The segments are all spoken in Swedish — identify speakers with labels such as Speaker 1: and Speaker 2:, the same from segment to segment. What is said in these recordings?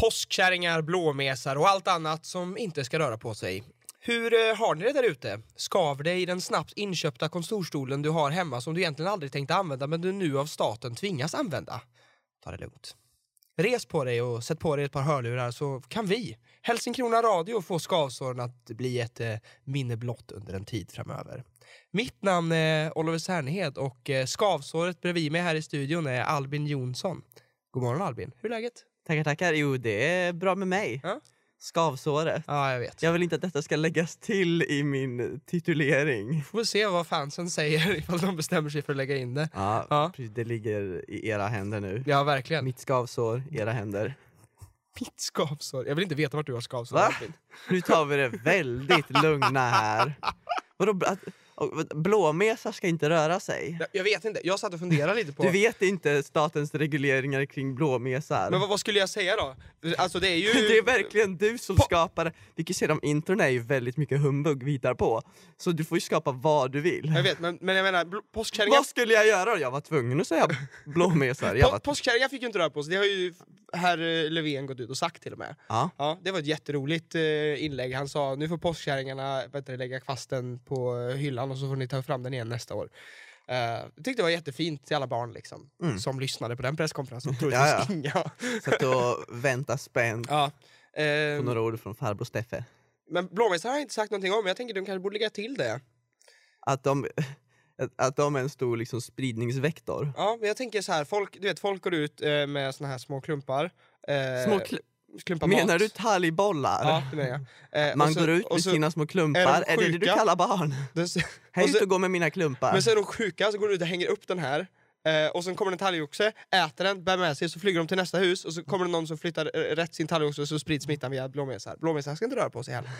Speaker 1: Påskkärringar, blåmesar och allt annat som inte ska röra på sig. Hur eh, har ni det där ute? Skav det i den snabbt inköpta kontorstolen du har hemma som du egentligen aldrig tänkte använda men du nu av staten tvingas använda? Ta det lugnt. Res på dig och sätt på dig ett par hörlurar så kan vi, Helsingkrona Radio, få skavsåren att bli ett eh, minne blott under en tid framöver. Mitt namn är Oliver Särnhed och eh, skavsåret bredvid mig här i studion är Albin Jonsson. God morgon Albin, hur är läget?
Speaker 2: Tackar, tackar. Jo, det är bra med mig.
Speaker 1: Ja.
Speaker 2: Skavsåret.
Speaker 1: Ja, jag vet.
Speaker 2: Jag vill inte att detta ska läggas till i min titulering.
Speaker 1: Får väl se vad fansen säger ifall de bestämmer sig för att lägga in det.
Speaker 2: Ja,
Speaker 1: Ja.
Speaker 2: Precis, det ligger i era händer nu.
Speaker 1: Ja, verkligen.
Speaker 2: Mitt skavsår, era händer.
Speaker 1: Mitt skavsår. Jag vill inte veta vart du har skavsår.
Speaker 2: Va?
Speaker 1: Albin.
Speaker 2: Nu tar vi det väldigt lugna här. Vadå, bl- att- och- vad- blåmesar ska inte röra sig?
Speaker 1: Jag, jag vet inte. Jag satt och funderade lite på...
Speaker 2: Du vet inte statens regleringar kring blåmesar.
Speaker 1: Men vad, vad skulle jag säga då? Alltså det är ju...
Speaker 2: Det är verkligen du som
Speaker 1: Po-
Speaker 2: skapar, vi kan ju se de intron är ju väldigt mycket humbug vi hittar på. Så du får ju skapa vad du vill.
Speaker 1: Jag vet, men, men jag menar bl- påskkärringar...
Speaker 2: Vad skulle jag göra? Jag var tvungen att säga blåmesar. Jag
Speaker 1: På,
Speaker 2: var...
Speaker 1: påskkärringar fick ju inte röra på sig. Det har ju herr eh, Löfven gått ut och sagt till och med.
Speaker 2: Ja.
Speaker 1: Ja, det var ett jätteroligt eh, inlägg. Han sa nu får påskkärringarna vad heter det, lägga fast den på eh, hyllan och så får ni ta fram den igen nästa år. Eh, jag tyckte det var jättefint till alla barn liksom,
Speaker 2: Mm.
Speaker 1: som lyssnade på den presskonferensen.
Speaker 2: Ja,
Speaker 1: Troligtvis inga.
Speaker 2: Så att då vänta spänt
Speaker 1: Ja.
Speaker 2: på
Speaker 1: Eh,
Speaker 2: några ord från farbror Steffe.
Speaker 1: men blåmesar har jag inte sagt någonting om, men jag tänker de kanske borde lägga till det.
Speaker 2: Att de, att- att de är en stor liksom, spridningsvektor.
Speaker 1: Ja, men jag tänker så här, folk, du vet, folk går ut eh, med såna här små klumpar. Eh,
Speaker 2: Små kl-
Speaker 1: klumpar
Speaker 2: menar
Speaker 1: mat.
Speaker 2: du talgbollar?
Speaker 1: Ja, det menar jag. Eh, och
Speaker 2: Man
Speaker 1: så-
Speaker 2: går ut
Speaker 1: och
Speaker 2: med
Speaker 1: så-
Speaker 2: sina små klumpar. Är, det det du
Speaker 1: sjuka?
Speaker 2: kallar barn? Här
Speaker 1: och
Speaker 2: ute
Speaker 1: så,
Speaker 2: och går med mina klumpar.
Speaker 1: men så är de sjuka, så går de ut och hänger upp den här. Eh, och sen kommer det en talgoxe, äter den, bär med sig, så flyger de till nästa hus och så kommer det någon som flyttar eh, rätt sin talgoxe och så sprids smittan via blåmesar. Blåmesar ska inte röra på sig heller.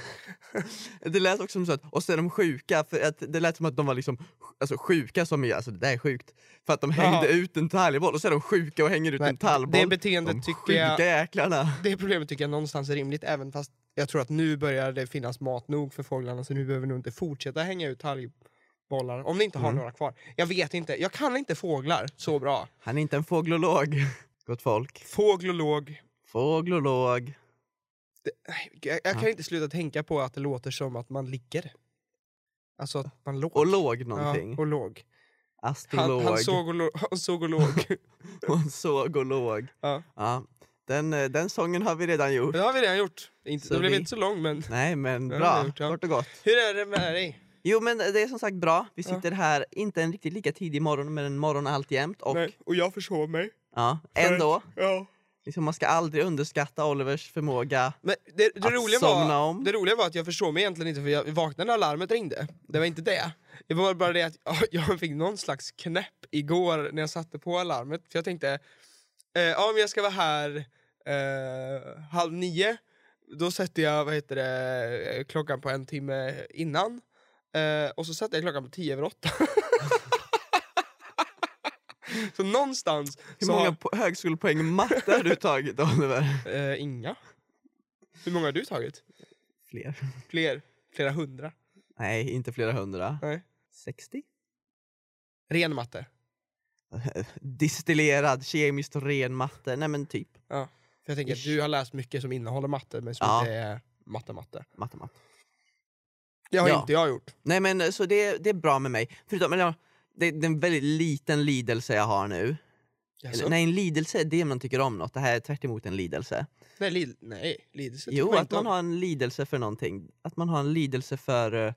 Speaker 2: Det lät också som så att, och så är de sjuka, för att det lät som att de var liksom, alltså sjuka som i, alltså det där är sjukt. För att de hängde
Speaker 1: Ja.
Speaker 2: ut en talgboll och så är de sjuka och hänger ut
Speaker 1: Nej,
Speaker 2: en tallboll.
Speaker 1: det beteendet
Speaker 2: de
Speaker 1: tycker
Speaker 2: sjuka
Speaker 1: jag-
Speaker 2: jäklarna.
Speaker 1: Det problemet tycker jag någonstans är rimligt, även fast jag tror att nu börjar det finnas mat nog för fåglarna så nu behöver vi nog inte fortsätta hänga ut talgbollar. Om ni inte har några kvar. Jag vet inte, jag kan inte fåglar så bra.
Speaker 2: Han är inte en fåglolog. Gott folk.
Speaker 1: Fåglolog.
Speaker 2: Fåglolog.
Speaker 1: Nej, Jag, jag kan inte sluta tänka på att det låter som att man ligger. Alltså att man låg.
Speaker 2: Och låg någonting.
Speaker 1: Ja, och låg. Han,
Speaker 2: Astrolog.
Speaker 1: han, såg och låg. han såg och låg.
Speaker 2: och han såg och låg.
Speaker 1: Ja.
Speaker 2: Den, eh, den sången har vi redan gjort.
Speaker 1: Det har vi redan gjort. Inte,
Speaker 2: Så
Speaker 1: det blev
Speaker 2: vi-
Speaker 1: inte så lång men.
Speaker 2: Nej men
Speaker 1: Den
Speaker 2: bra,
Speaker 1: har vi gjort, ja.
Speaker 2: kort och gott.
Speaker 1: Hur är det med dig?
Speaker 2: Jo men det är som sagt bra, vi
Speaker 1: Ja.
Speaker 2: sitter här, inte en riktigt lika tidig morgon men en morgon alltjämt och
Speaker 1: Nej, och jag försov mig.
Speaker 2: ja,
Speaker 1: För-
Speaker 2: ändå.
Speaker 1: Ja.
Speaker 2: Liksom man ska aldrig underskatta Olivers förmåga.
Speaker 1: Men det, det,
Speaker 2: Att
Speaker 1: roliga
Speaker 2: somna
Speaker 1: var,
Speaker 2: om.
Speaker 1: det roliga var att jag försov mig egentligen inte för jag vaknade när alarmet ringde. Det var inte det. Det var bara det att ja, jag fick någon slags knäpp igår när jag satte på alarmet. För jag tänkte, eh, ja men jag ska vara här eh, halv nio. Då sätter jag vad heter det, eh, klockan på en timme innan. Eh, och så satte jag klockan på tio över åtta. så någonstans...
Speaker 2: Hur
Speaker 1: så
Speaker 2: många
Speaker 1: har-
Speaker 2: po- högskolepoäng i matte har du tagit Oliver?
Speaker 1: eh, inga. Hur många har du tagit?
Speaker 2: Fler?
Speaker 1: Fler? Flera hundra?
Speaker 2: Nej, inte flera hundra.
Speaker 1: Nej.
Speaker 2: 60?
Speaker 1: Ren matte.
Speaker 2: Distillerad, kemiskt ren matte. Nej men typ.
Speaker 1: För jag tänker att
Speaker 2: Ish.
Speaker 1: du har läst mycket som innehåller matte, men som
Speaker 2: Ja.
Speaker 1: inte är matte-matte.
Speaker 2: Matte, matte.
Speaker 1: Det har
Speaker 2: Ja.
Speaker 1: inte jag gjort.
Speaker 2: Nej men eh, så det, det är bra med mig. Förutom, eller, ja, det, det är en väldigt liten lidelse jag har nu. Eller,
Speaker 1: Jaså?
Speaker 2: nej en lidelse det är man tycker om något, det här är tvärt emot en lidelse.
Speaker 1: Nej, lid, nej lidelse tycker
Speaker 2: Jo
Speaker 1: man
Speaker 2: att
Speaker 1: inte
Speaker 2: man
Speaker 1: om.
Speaker 2: har en lidelse för någonting. Att man har en lidelse för uh,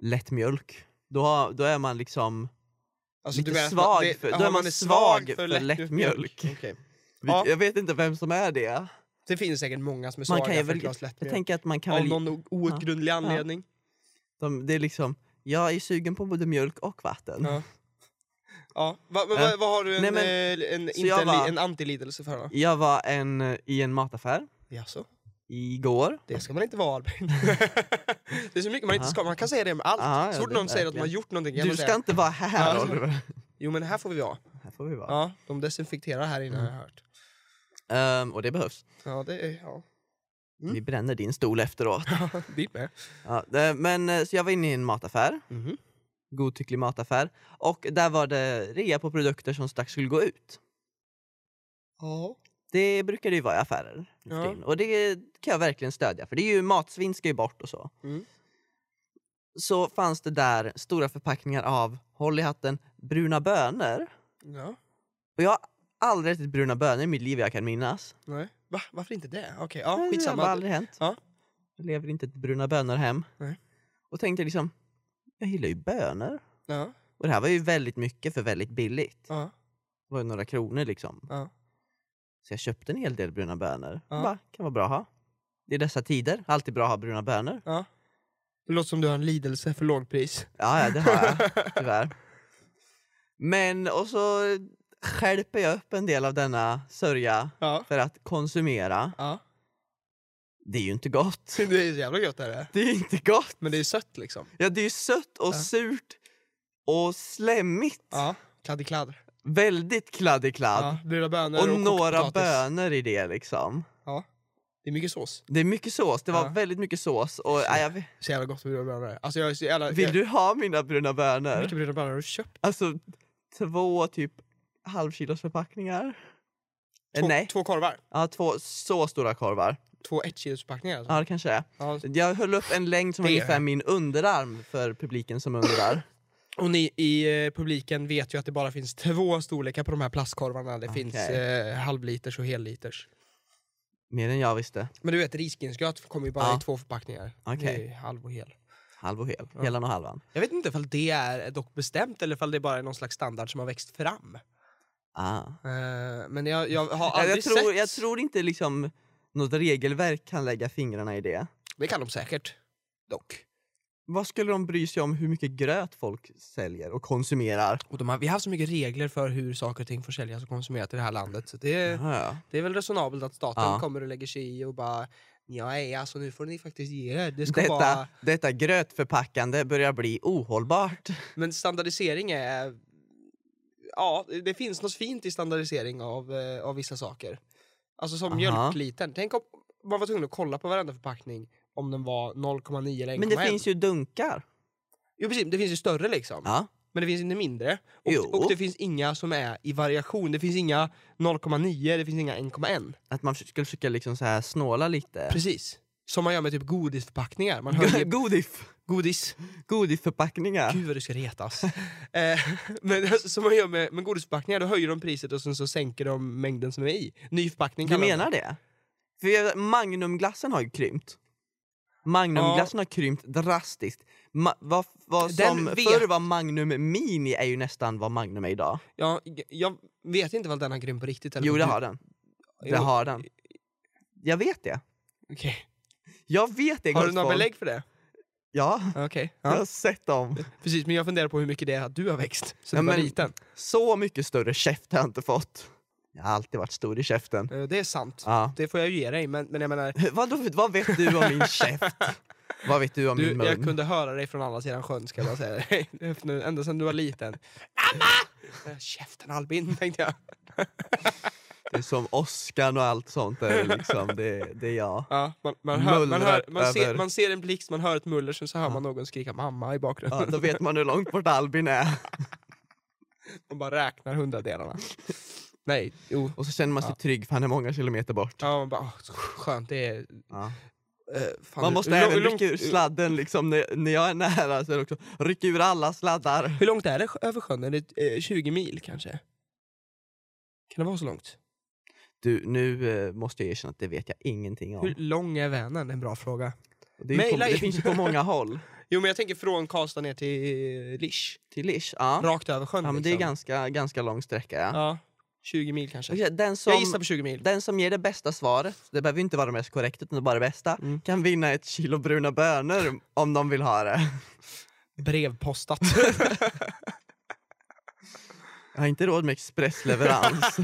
Speaker 2: lättmjölk. Då, har, då är man liksom,
Speaker 1: Alltså,
Speaker 2: lite
Speaker 1: menar att
Speaker 2: svag
Speaker 1: det-
Speaker 2: för-
Speaker 1: ja,
Speaker 2: då är man svag för lättmjölk.
Speaker 1: Okej. Ja.
Speaker 2: ja. jag vet inte vem som är det.
Speaker 1: Det finns säkert många som är
Speaker 2: Man
Speaker 1: svaga
Speaker 2: kan ju
Speaker 1: för
Speaker 2: väl-
Speaker 1: ett glas
Speaker 2: Jag
Speaker 1: lättmjölk.
Speaker 2: tänker att man kan
Speaker 1: Av
Speaker 2: väl
Speaker 1: någon o- outgrundlig anledning.
Speaker 2: De, det är liksom, jag är sugen på både mjölk och vatten.
Speaker 1: Ja. Ja. Va, men
Speaker 2: Ja.
Speaker 1: vad- vad har du en,
Speaker 2: Nej, men-
Speaker 1: eh, en,
Speaker 2: så
Speaker 1: inte
Speaker 2: jag
Speaker 1: en,
Speaker 2: var-
Speaker 1: li- en antilidelse för då?
Speaker 2: Jag var en, eh, i en mataffär
Speaker 1: Jaså?
Speaker 2: igår.
Speaker 1: Det ska man inte vara Albin. det är så mycket man inte
Speaker 2: Ja.
Speaker 1: ska, man kan säga det med allt.
Speaker 2: Ja, ja,
Speaker 1: så fort
Speaker 2: det-
Speaker 1: någon säger att man har
Speaker 2: verkligen.
Speaker 1: gjort någonting kan
Speaker 2: Du
Speaker 1: man
Speaker 2: ska
Speaker 1: säga,
Speaker 2: inte vara här
Speaker 1: Ja, så-
Speaker 2: Oliver.
Speaker 1: jo men här får vi vara.
Speaker 2: Här får vi vara.
Speaker 1: Ja, Mm. de desinfekterar här inne har jag hört.
Speaker 2: Ehm, och det behövs.
Speaker 1: Ja, det är... Ja. Mm.
Speaker 2: Vi bränner din stol efteråt.
Speaker 1: Dit med. Mhm.
Speaker 2: Ja, det- men eh, så jag var inne i en mataffär. godtycklig mataffär. Och där var det rea på produkter som strax skulle gå ut.
Speaker 1: Ja.
Speaker 2: Det brukar det ju vara i affärer. nu för
Speaker 1: Ja.
Speaker 2: tiden. Och det kan jag verkligen stödja för det är ju matsvinn ska ju bort och så.
Speaker 1: Mm.
Speaker 2: Så fanns det där stora förpackningar av, håll i hatten, bruna bönor.
Speaker 1: ja.
Speaker 2: Och jag har aldrig ätit bruna bönor i mitt liv jag kan minnas.
Speaker 1: Nej. Va? Varför inte det? Okej,
Speaker 2: Nej,
Speaker 1: ja,
Speaker 2: Det har bara
Speaker 1: skitsamma.
Speaker 2: aldrig hänt.
Speaker 1: Ja.
Speaker 2: Jag lever inte ett bruna bönor hem.
Speaker 1: Nej.
Speaker 2: Och tänkte liksom, jag gillar ju bönor.
Speaker 1: Ja,
Speaker 2: Och det här var ju väldigt mycket för väldigt billigt.
Speaker 1: ja,
Speaker 2: Det var ju några kronor liksom.
Speaker 1: ja.
Speaker 2: Så jag köpte en hel del bruna bönor.
Speaker 1: Ja.
Speaker 2: Bara, kan vara bra att ha. Det är dessa tider, alltid bra att ha bruna bönor.
Speaker 1: Det låter som du har en lidelse för lågpris.
Speaker 2: Ja, ja det har jag. Tyvärr. Men, och så skärper jag upp en del av denna sörja
Speaker 1: Ja.
Speaker 2: för att konsumera.
Speaker 1: ja.
Speaker 2: Det är ju inte gott.
Speaker 1: Det är så jävla gött är det.
Speaker 2: Det är inte gott.
Speaker 1: Men det är sött liksom.
Speaker 2: Ja, det är ju sött och
Speaker 1: Ja.
Speaker 2: surt och slemmigt.
Speaker 1: Ja. Kladdig kladd.
Speaker 2: Väldigt kladdig kladd.
Speaker 1: Ja. Bruna bönor
Speaker 2: Och
Speaker 1: och, kokt
Speaker 2: några
Speaker 1: potatis.
Speaker 2: bönor i det liksom.
Speaker 1: Det är mycket sås.
Speaker 2: Det är mycket sås. Det var
Speaker 1: Ja.
Speaker 2: väldigt mycket sås. Och,
Speaker 1: Shit.
Speaker 2: nej, jag, vet-
Speaker 1: Så jävla gott med bruna bönor. Alltså jag är så jävla...
Speaker 2: vill
Speaker 1: jag,
Speaker 2: du ha mina bruna
Speaker 1: Hur
Speaker 2: bönor?
Speaker 1: mycket bruna bönor har du köpt?
Speaker 2: Alltså två typ halvkilos förpackningar. Eh,
Speaker 1: Två,
Speaker 2: Nej,
Speaker 1: två korvar.
Speaker 2: ja, två så stora korvar.
Speaker 1: Två ettkilosförpackningar alltså.
Speaker 2: Ja, det kanske det är.
Speaker 1: Ja.
Speaker 2: Jag höll upp en längd som var
Speaker 1: Det är-
Speaker 2: ungefär min underarm för publiken som undrar.
Speaker 1: Och ni i eh, publiken vet ju att det bara finns två storlekar på de här plastkorvarna. Det
Speaker 2: Okej.
Speaker 1: finns eh, halvliters och helliters.
Speaker 2: Mer än jag visste.
Speaker 1: Men du vet, risgrynsgröt kommer ju bara
Speaker 2: Ja.
Speaker 1: i två förpackningar.
Speaker 2: Okej.
Speaker 1: Det är halv och hel.
Speaker 2: Halv och hel.
Speaker 1: Ja.
Speaker 2: Helan och halvan.
Speaker 1: Jag vet inte ifall det är dock bestämt eller ifall det bara är någon slags standard som har växt fram.
Speaker 2: Ah.
Speaker 1: Eh, men jag, jag har
Speaker 2: Ja,
Speaker 1: aldrig
Speaker 2: jag, tror,
Speaker 1: sett...
Speaker 2: jag tror inte liksom något regelverk kan lägga fingrarna i det.
Speaker 1: Det kan de säkert. Dock.
Speaker 2: Vad skulle de bry sig om hur mycket gröt folk säljer och konsumerar?
Speaker 1: Och de har, vi har haft så mycket regler för hur saker och ting får säljas och konsumeras i det här landet. Så det,
Speaker 2: Ja.
Speaker 1: det är väl resonabelt att staten
Speaker 2: Ja.
Speaker 1: kommer och lägger sig i och bara Ja, ej, alltså nu får ni faktiskt ge er. Det ska
Speaker 2: Detta,
Speaker 1: vara...
Speaker 2: detta grötförpackande börjar bli ohållbart.
Speaker 1: Men standardisering är... Ja, det finns något fint i standardisering av, eh, av vissa saker. Alltså som
Speaker 2: Aha.
Speaker 1: mjölkliten. Tänk om man var tvungen att kolla på varenda förpackning om den var 0,9 eller 1,1.
Speaker 2: Men det finns ju dunkar.
Speaker 1: Jo precis, det finns ju större liksom.
Speaker 2: Ja.
Speaker 1: Men det finns inte mindre.
Speaker 2: Jo.
Speaker 1: Och, och det finns inga som är i variation. Det finns inga 0,9, det finns inga 1,1.
Speaker 2: Att man skulle försöka liksom så här snåla lite.
Speaker 1: Precis. Som man gör med typ godisförpackningar. Man höjer
Speaker 2: Godif.
Speaker 1: godis.
Speaker 2: Godisförpackningar.
Speaker 1: Gud vad du ska retas. eh, men alltså, som man gör med, med godisförpackningar, då höjer de priset och sen så sänker de mängden som är i. Ny förpackning
Speaker 2: Du
Speaker 1: kallar de
Speaker 2: menar det? För jag- Magnumglassen har ju krympt. Magnumglassen har krympt drastiskt. Ma- vad, vad
Speaker 1: Den
Speaker 2: som
Speaker 1: vet-
Speaker 2: förr var Magnum Mini är ju nästan vad Magnum är idag.
Speaker 1: Ja, jag vet inte vad den har grym på riktigt. Eller
Speaker 2: Jo
Speaker 1: vad
Speaker 2: det
Speaker 1: du-
Speaker 2: har den.
Speaker 1: Jo,
Speaker 2: Det har den. Jag vet det.
Speaker 1: okej.
Speaker 2: Jag vet det
Speaker 1: Har du
Speaker 2: gott
Speaker 1: några
Speaker 2: folk.
Speaker 1: belägg för det?
Speaker 2: Ja,
Speaker 1: Okej.
Speaker 2: jag
Speaker 1: Ja.
Speaker 2: har sett dem.
Speaker 1: Precis, men jag funderar på hur mycket det är att du har växt sen
Speaker 2: Ja,
Speaker 1: du var
Speaker 2: men-
Speaker 1: liten.
Speaker 2: Så mycket större käft har jag inte fått. Jag har alltid varit stor i käften.
Speaker 1: Eh, Det är sant.
Speaker 2: Ja.
Speaker 1: Det får jag ju ge dig, men, men jag menar,
Speaker 2: Vadå, vad vet du om min käft? Vad vet du om
Speaker 1: du,
Speaker 2: min mun?
Speaker 1: jag kunde höra dig från andra sidan sjön ska jag bara säga dig. Efter nu, Ända sedan du var liten. Mamma! Eh, Käften Albin, tänkte jag.
Speaker 2: Det är som Oscar och allt sånt. Där, liksom. det, det är jag.
Speaker 1: Ja, man, man, hör, man, hör, man,
Speaker 2: Mullrat
Speaker 1: ser,
Speaker 2: över.
Speaker 1: man ser en blixt, man hör ett muller, sen så hör man någon skrika mamma i bakgrunden.
Speaker 2: Ja, då vet man hur långt bort Albin är.
Speaker 1: Man bara räknar hundradelarna. Nej, jo.
Speaker 2: Och så känner man sig trygg för han är många kilometer bort.
Speaker 1: Ja, man bara, åh, så skönt det är...
Speaker 2: Ja.
Speaker 1: eh, fan,
Speaker 2: Man
Speaker 1: hur-
Speaker 2: måste
Speaker 1: hur lång-
Speaker 2: även
Speaker 1: hur långt-
Speaker 2: rycka ur sladden liksom, när, när jag är nära. Så är det också, ryck ur alla sladdar.
Speaker 1: Hur långt är det över sjön? Är det eh, 20 mil kanske? Kan det vara så långt?
Speaker 2: Du, nu eh, måste jag erkänna att det vet jag ingenting om.
Speaker 1: Hur lång är Vänern? Det är en bra fråga.
Speaker 2: Det, är ju på,
Speaker 1: Maila in.
Speaker 2: det finns ju på många håll.
Speaker 1: Jo men jag tänker från Karlstad ner till eh, Lisch.
Speaker 2: Till Lish, ja.
Speaker 1: Rakt över sjön
Speaker 2: ja men det är
Speaker 1: liksom.
Speaker 2: ganska, ganska lång sträcka. Ja.
Speaker 1: Ja, 20 mil kanske.
Speaker 2: Okej, Den,
Speaker 1: Jag
Speaker 2: som,
Speaker 1: gissar på 20 mil.
Speaker 2: den som ger det bästa svaret, det behöver ju inte vara det mest korrekta utan bara det bästa,
Speaker 1: Mm.
Speaker 2: kan vinna ett kilo bruna bönor om de vill ha det.
Speaker 1: Brevpostat.
Speaker 2: Jag har inte råd med expressleverans.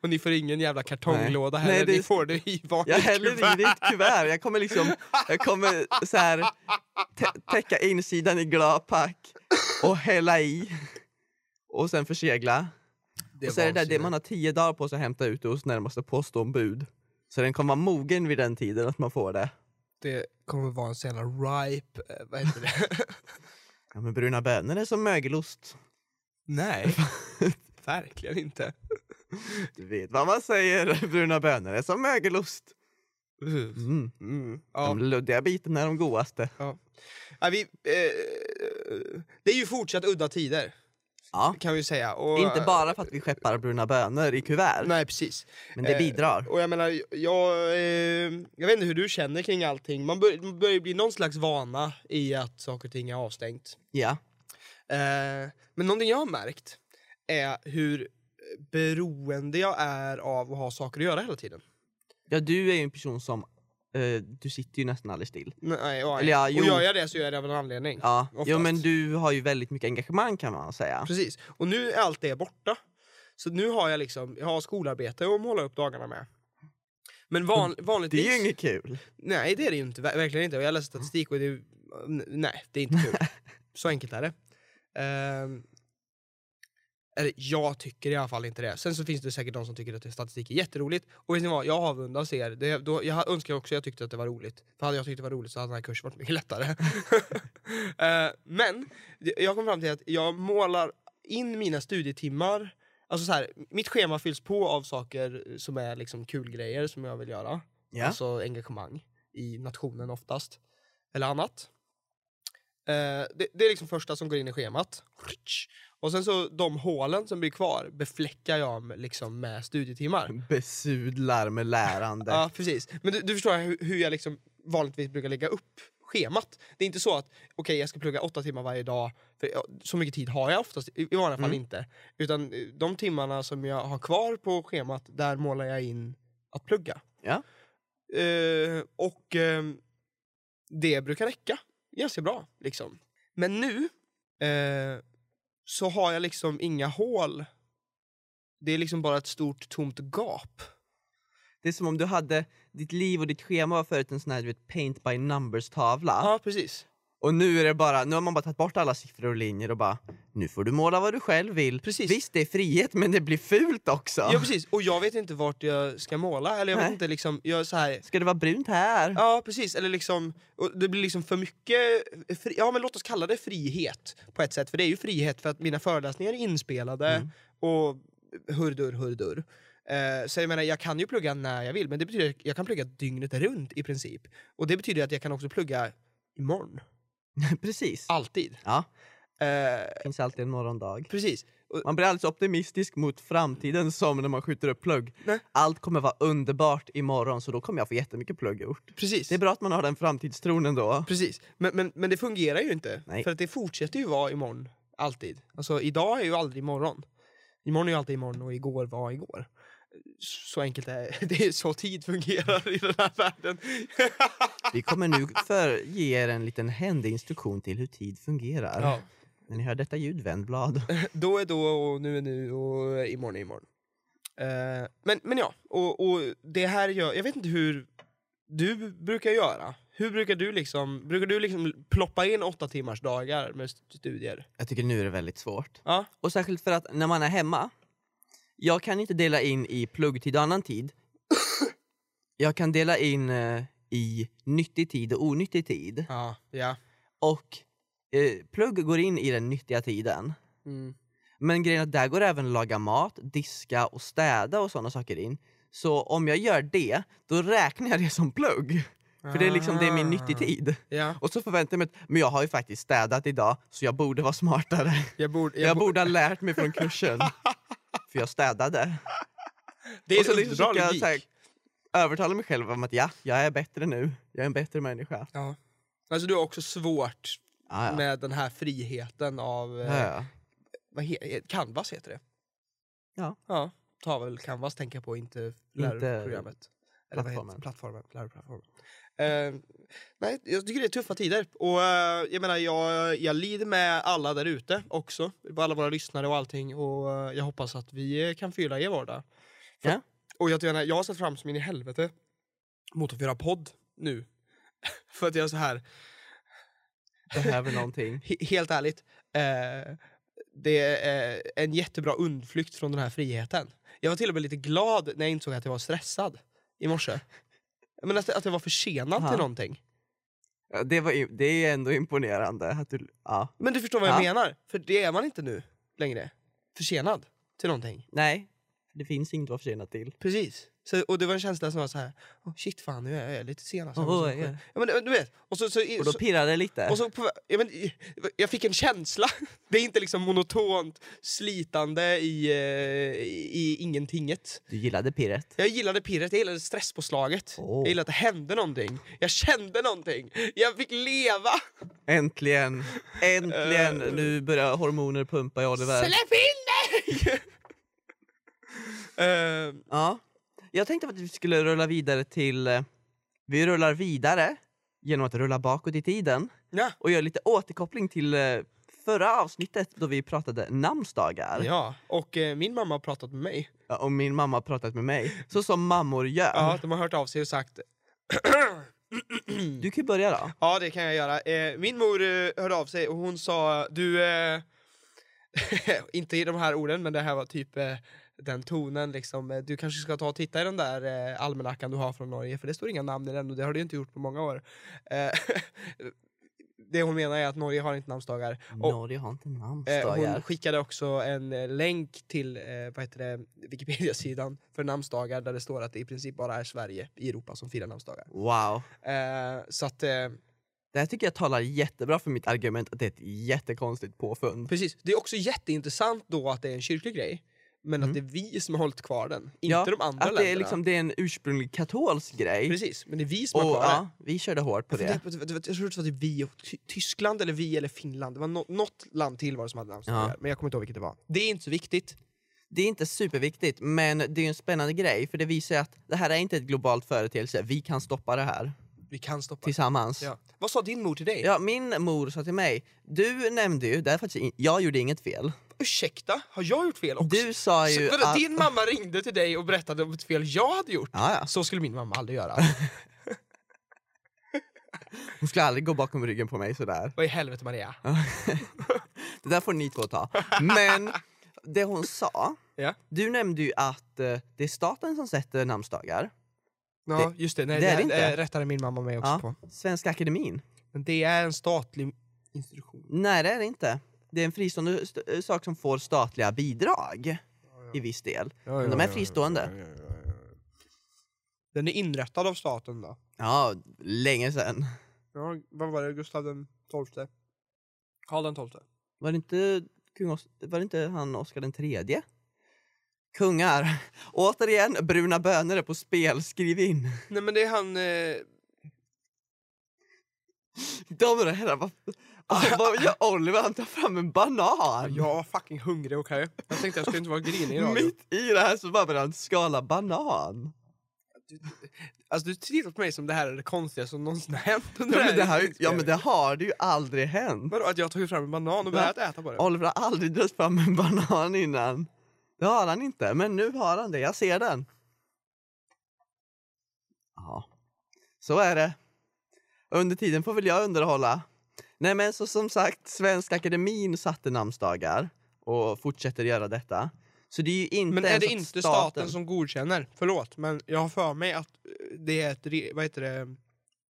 Speaker 1: och ni får ingen jävla kartonglåda heller.
Speaker 2: Nej, det-
Speaker 1: Ni får det i varsitt
Speaker 2: Jag häller i
Speaker 1: kuvert.
Speaker 2: det i ett kuvert. Jag kommer liksom jag kommer så här, tä- täcka insidan i gladpack och hälla i. Och sen försegla.
Speaker 1: Det
Speaker 2: och så är det där, det
Speaker 1: vansinne.
Speaker 2: man har tio dagar på sig att hämta ut det hos närmaste postombud. Så den kommer vara mogen vid den tiden att man får det.
Speaker 1: det kommer vara en sån jävla ripe... eh, Vad heter det?
Speaker 2: Ja, men bruna bönor är som mögelost.
Speaker 1: Nej, verkligen inte.
Speaker 2: Du vet vad man säger, bruna bönor är som mögelost.
Speaker 1: Precis.
Speaker 2: Mm.
Speaker 1: Mm.
Speaker 2: De
Speaker 1: Ja.
Speaker 2: luddiga bitarna är de godaste.
Speaker 1: Ja, vi, eh, det är ju fortsatt udda tider,
Speaker 2: Ja.
Speaker 1: kan vi ju säga. Och, eh,
Speaker 2: Inte bara för att vi skeppar bruna bönor i kuvert,
Speaker 1: Nej, precis.
Speaker 2: men det
Speaker 1: eh,
Speaker 2: bidrar.
Speaker 1: Och jag menar, jag, eh, jag vet inte hur du känner kring allting. Man bör- man börjar ju bli någon slags vana i att saker och ting är avstängt.
Speaker 2: Ja.
Speaker 1: Eh, men någonting jag har märkt är hur beroende jag är av att ha saker att göra hela tiden.
Speaker 2: ja, du är ju en person som... eh, du sitter ju nästan aldrig still.
Speaker 1: Nej, ja,
Speaker 2: Eller ja,
Speaker 1: och
Speaker 2: jo.
Speaker 1: gör jag det så gör jag det av en anledning.
Speaker 2: Ja, jo,
Speaker 1: Oftast.
Speaker 2: men du har ju väldigt mycket engagemang kan man säga.
Speaker 1: Precis. Och nu är allt det borta. Så nu har jag liksom, jag har skolarbete att måla upp dagarna med. Men van,
Speaker 2: Det
Speaker 1: vanligtvis...
Speaker 2: är ju inget kul.
Speaker 1: Nej, det är det ju inte. Ver- Verkligen inte. Och jag läser statistik och det är ju- n- Nej, det är inte kul. Så enkelt är det. Ehm, eller jag tycker i alla fall inte det. Sen så finns det säkert de som tycker att statistik är jätteroligt. Och vet ni vad, jag avundas er. Det, då, jag önskar också jag tyckte att det var roligt. För hade jag tyckt det var roligt så hade den här kursen varit mycket lättare. Eh, men det- jag kom fram till att jag målar in mina studietimmar. Alltså så här, mitt schema fylls på av saker som är liksom kul grejer som jag vill göra
Speaker 2: Ja.
Speaker 1: alltså engagemang i nationen oftast, eller annat. Eh, det, det är liksom första som går in i schemat. Och sen så de hålen som blir kvar befläckar jag med, liksom med studietimmar.
Speaker 2: Besudlar med lärande.
Speaker 1: Ja, precis. Men du, du förstår hur, hur jag liksom vanligtvis brukar lägga upp schemat. Det är inte så att okej, jag ska plugga åtta timmar varje dag. För ja, så mycket tid har jag oftast, i i vanliga fall
Speaker 2: Mm.
Speaker 1: inte. Utan eh, de timmarna som jag har kvar på schemat, där målar jag in att plugga.
Speaker 2: Ja.
Speaker 1: Eh, och ehm, det brukar räcka ganska bra. Liksom. Men nu eh, så har jag liksom inga hål. Det är liksom bara ett stort tomt gap.
Speaker 2: Det är som om du hade... Ditt liv och ditt schema var förut en sån här du vet, paint by numbers-tavla.
Speaker 1: Ja, precis.
Speaker 2: Och nu är det bara, nu har man bara tagit bort alla siffror och linjer och bara nu får du måla vad du själv vill.
Speaker 1: Precis.
Speaker 2: Visst, det är frihet men det blir fult också.
Speaker 1: Ja precis, och jag vet inte vart jag ska måla. Eller jag vet
Speaker 2: Nej.
Speaker 1: inte liksom, jag är så här...
Speaker 2: Ska det vara brunt här?
Speaker 1: Ja precis, eller liksom, och det blir liksom för mycket, fri, ja men låt oss kalla det frihet på ett sätt. För det är ju frihet för att mina föreläsningar är inspelade
Speaker 2: Mm.
Speaker 1: och hurdur hurdur. Eh, så jag menar, jag kan ju plugga när jag vill men det betyder att jag kan plugga dygnet runt i princip. Och det betyder att jag kan också plugga imorgon.
Speaker 2: Precis.
Speaker 1: Alltid.
Speaker 2: Ja,
Speaker 1: Eh,
Speaker 2: det finns alltid en morgondag.
Speaker 1: precis. Och,
Speaker 2: Man blir alldeles optimistisk mot framtiden som när man skjuter upp plugg.
Speaker 1: Nej.
Speaker 2: Allt kommer vara underbart imorgon så då kommer jag få jättemycket plugg gjort.
Speaker 1: precis.
Speaker 2: Det är bra att man har den framtidstron ändå.
Speaker 1: Precis, men, men, men det fungerar ju inte.
Speaker 2: Nej.
Speaker 1: För att det fortsätter ju vara imorgon, alltid. Alltså idag är ju aldrig imorgon. Imorgon är ju alltid imorgon och igår var igår. Så enkelt är det. Det är så tid fungerar i den här världen.
Speaker 2: Vi kommer nu för ge er en liten händig instruktion till hur tid fungerar.
Speaker 1: Ja.
Speaker 2: När ni hör detta ljud, vändblad.
Speaker 1: Då är då och nu är nu och imorgon är imorgon. Eh, men, men ja, och, och det här gör... Jag vet inte hur du brukar göra. Hur brukar du liksom... Brukar du liksom ploppa in åtta timmars dagar med st- studier?
Speaker 2: Jag tycker nu är det väldigt svårt.
Speaker 1: Ja,
Speaker 2: Och särskilt för att när man är hemma, jag kan inte dela in i pluggtid och annan tid. Jag kan dela in eh, i nyttig tid och onyttig tid.
Speaker 1: ja, ja.
Speaker 2: Och eh, plugg går in i den nyttiga tiden.
Speaker 1: Mm.
Speaker 2: Men grejen är att där går även att laga mat, diska och städa och sådana saker in. Så om jag gör det, då räknar jag det som plugg. För det är liksom det är
Speaker 1: Ah.
Speaker 2: min nyttig tid.
Speaker 1: Ja,
Speaker 2: Och så förväntar jag mig att men jag har ju faktiskt städat idag så jag borde vara smartare.
Speaker 1: jag borde...
Speaker 2: Jag borde ha lärt mig från kursen. För jag städade.
Speaker 1: det är
Speaker 2: och så
Speaker 1: en
Speaker 2: liksom
Speaker 1: underbar
Speaker 2: försöker jag
Speaker 1: logik.
Speaker 2: så här, övertala mig själv om att ja, jag är bättre nu. Jag är en bättre människa.
Speaker 1: Ja. Alltså du har också svårt
Speaker 2: Ah, ja.
Speaker 1: med den här friheten av...
Speaker 2: Ja,
Speaker 1: Eh,
Speaker 2: ja.
Speaker 1: vad he- eh, canvas heter det.
Speaker 2: Ja.
Speaker 1: Ja, ta väl Canvas tänker jag på, inte lärarprogrammet. Eller vad heter det?
Speaker 2: plattformen.
Speaker 1: Plattformen. Lärarplattformen. Eh, nej, jag tycker det är tuffa tider. Och eh, jag menar, jag, jag lider med alla där ute också. Alla våra lyssnare och allting. Och eh, jag hoppas att vi eh, kan fylla er vardag. För-
Speaker 2: Ja.
Speaker 1: Och jag, menar, jag har sett fram som in i helvete mot att göra podd nu. För att jag är så här,
Speaker 2: Behöver någonting.
Speaker 1: He- helt ärligt, eh, det är en jättebra undflykt från den här friheten. Jag var till och med lite glad när jag insåg att jag var stressad i morse. Men att, att jag var försenad
Speaker 2: Aha.
Speaker 1: till någonting.
Speaker 2: Ja, Det, var, ju- det är ändå imponerande. Att du, ja.
Speaker 1: Men du förstår vad jag
Speaker 2: Ja.
Speaker 1: menar, för det är man inte nu längre. Försenad till någonting.
Speaker 2: Nej, det finns inget att vara försenad till.
Speaker 1: Precis. Så, och det var en känsla som var så här, oh, shit fan nu är jag lite sen. Alltså.
Speaker 2: Åh,
Speaker 1: Och så-
Speaker 2: ja.
Speaker 1: ja, men, du vet, och så, så,
Speaker 2: Och
Speaker 1: så,
Speaker 2: då pirrar det lite.
Speaker 1: och så på, ja, men, jag fick en känsla. Det är inte liksom monotont slitande i, eh, i, i ingentinget.
Speaker 2: Du gillade pirret.
Speaker 1: Jag gillade pirret, jag gillade stresspåslaget.
Speaker 2: Åh.
Speaker 1: Jag gillade att det hände någonting. Jag kände någonting. Jag fick leva.
Speaker 2: Äntligen! Äntligen! Nu börjar hormoner pumpa i Oliver.
Speaker 1: Släpp in mig! Eh,
Speaker 2: Ja. Jag tänkte att vi skulle rulla vidare till... eh, Vi rullar vidare genom att rulla bakåt i tiden
Speaker 1: ja.
Speaker 2: och göra lite återkoppling till eh, förra avsnittet då vi pratade namnsdagar.
Speaker 1: ja, och eh, min mamma har pratat med mig.
Speaker 2: Ja, Och min mamma har pratat med mig. Så som mammor gör.
Speaker 1: Ja, de har hört av sig och sagt
Speaker 2: Du kan ju börja då.
Speaker 1: Ja, det kan jag göra. Eh, min mor eh, hörde av sig och hon sa, du... Eh, inte i de här orden, men det här var typ eh, den tonen liksom. Eh, Du kanske ska ta och titta i den där eh, almanackan du har från Norge, för det står inga namn i den och det har du inte gjort på många år. Eh, det hon menar är att Norge har inte namnsdagar. Och-
Speaker 2: Norge har inte
Speaker 1: Eh,
Speaker 2: namnsdagar.
Speaker 1: hon skickade också en eh, länk till eh, vad heter det, Wikipedia-sidan för namnsdagar där det står att det i princip bara är Sverige i Europa som firar namnsdagar.
Speaker 2: Wow.
Speaker 1: Eh, så att... Eh,
Speaker 2: Det här tycker jag talar jättebra för mitt argument att det är ett jättekonstigt påfund.
Speaker 1: Precis. Det är också jätteintressant då att det är en kyrklig grej. Men
Speaker 2: Mm.
Speaker 1: att det är vi som har hållit kvar den, inte
Speaker 2: Ja,
Speaker 1: de andra
Speaker 2: Att
Speaker 1: länderna.
Speaker 2: det är, liksom, det är en ursprunglig katolsk grej.
Speaker 1: Precis, men det är vi som
Speaker 2: Och
Speaker 1: har kvar
Speaker 2: ja, vi körde hårt på
Speaker 1: den. Jag
Speaker 2: det.
Speaker 1: funderar på- Jag tror det var typ vi och Ty- Tyskland eller vi eller Finland. Det var nå- något land till var det som hade namnsdagar,
Speaker 2: Ja.
Speaker 1: men jag kommer inte ihåg vilket det var. Det är inte så viktigt.
Speaker 2: Det är inte superviktigt, men det är ju en spännande grej för det visar ju att det här är inte ett globalt företeelse. Vi kan stoppa det här
Speaker 1: Vi kan stoppa det.
Speaker 2: tillsammans.
Speaker 1: Ja. Vad sa din mor till dig?
Speaker 2: Ja, min mor sa till mig, du nämnde ju, det här är faktiskt in, jag gjorde inget fel.
Speaker 1: Ursäkta, har jag gjort fel också?
Speaker 2: Du sa
Speaker 1: Så,
Speaker 2: ju
Speaker 1: vänta,
Speaker 2: att...
Speaker 1: Din mamma ringde till dig och berättade om ett fel jag hade gjort.
Speaker 2: Ja, ja.
Speaker 1: Så skulle min mamma aldrig göra.
Speaker 2: Hon skulle aldrig gå bakom ryggen på mig sådär.
Speaker 1: Vad i helvete Maria?
Speaker 2: Det där får ni två ta. Men det hon sa,
Speaker 1: Ja.
Speaker 2: du nämnde ju att eh, det är staten som sätter namnsdagar.
Speaker 1: Ja, just det. Nej,
Speaker 2: det
Speaker 1: det,
Speaker 2: är det inte.
Speaker 1: eh, rättade min mamma mig också
Speaker 2: Ja.
Speaker 1: på.
Speaker 2: Svenska Akademin.
Speaker 1: Men det är en statlig institution.
Speaker 2: Nej det är det inte. Det är en fristående st- eh, sak som får statliga bidrag i viss del. Men de är fristående.
Speaker 1: Den är inrättad av staten då?
Speaker 2: Ja, länge sedan.
Speaker 1: Ja, vad var det? Gustav den XII? Karl den XII?
Speaker 2: Var det inte, kung Os- var det inte han Oscar den tredje? Kungar. Återigen, bruna bönor är på spel. Skriv in.
Speaker 1: Nej men det är han... Eh,
Speaker 2: Damer och herrar, vad, alltså, vad gör Oliver? Han tar fram en banan.
Speaker 1: jag var fucking hungrig okej. Jag tänkte jag skulle inte vara grinig idag.
Speaker 2: Mitt i det här så bara börjar han skala banan.
Speaker 1: Alltså du tittar på mig som det här är det konstigaste som någonsin har hänt.
Speaker 2: Ja men, det här, ja men det har det ju aldrig hänt.
Speaker 1: Vadå att jag tog fram en banan och började äta på den?
Speaker 2: Oliver har aldrig dragit fram en banan innan. Det har han inte, men nu har han det. Jag ser den. Ja, så är det. Under tiden får väl jag underhålla. Nej men så som sagt, Svenska Akademin satte namnsdagar och fortsätter göra detta. Så det är ju inte
Speaker 1: Men är
Speaker 2: ens
Speaker 1: det
Speaker 2: att
Speaker 1: inte staten som godkänner? Förlåt men jag har för mig att eh, det är ett re- vad heter det,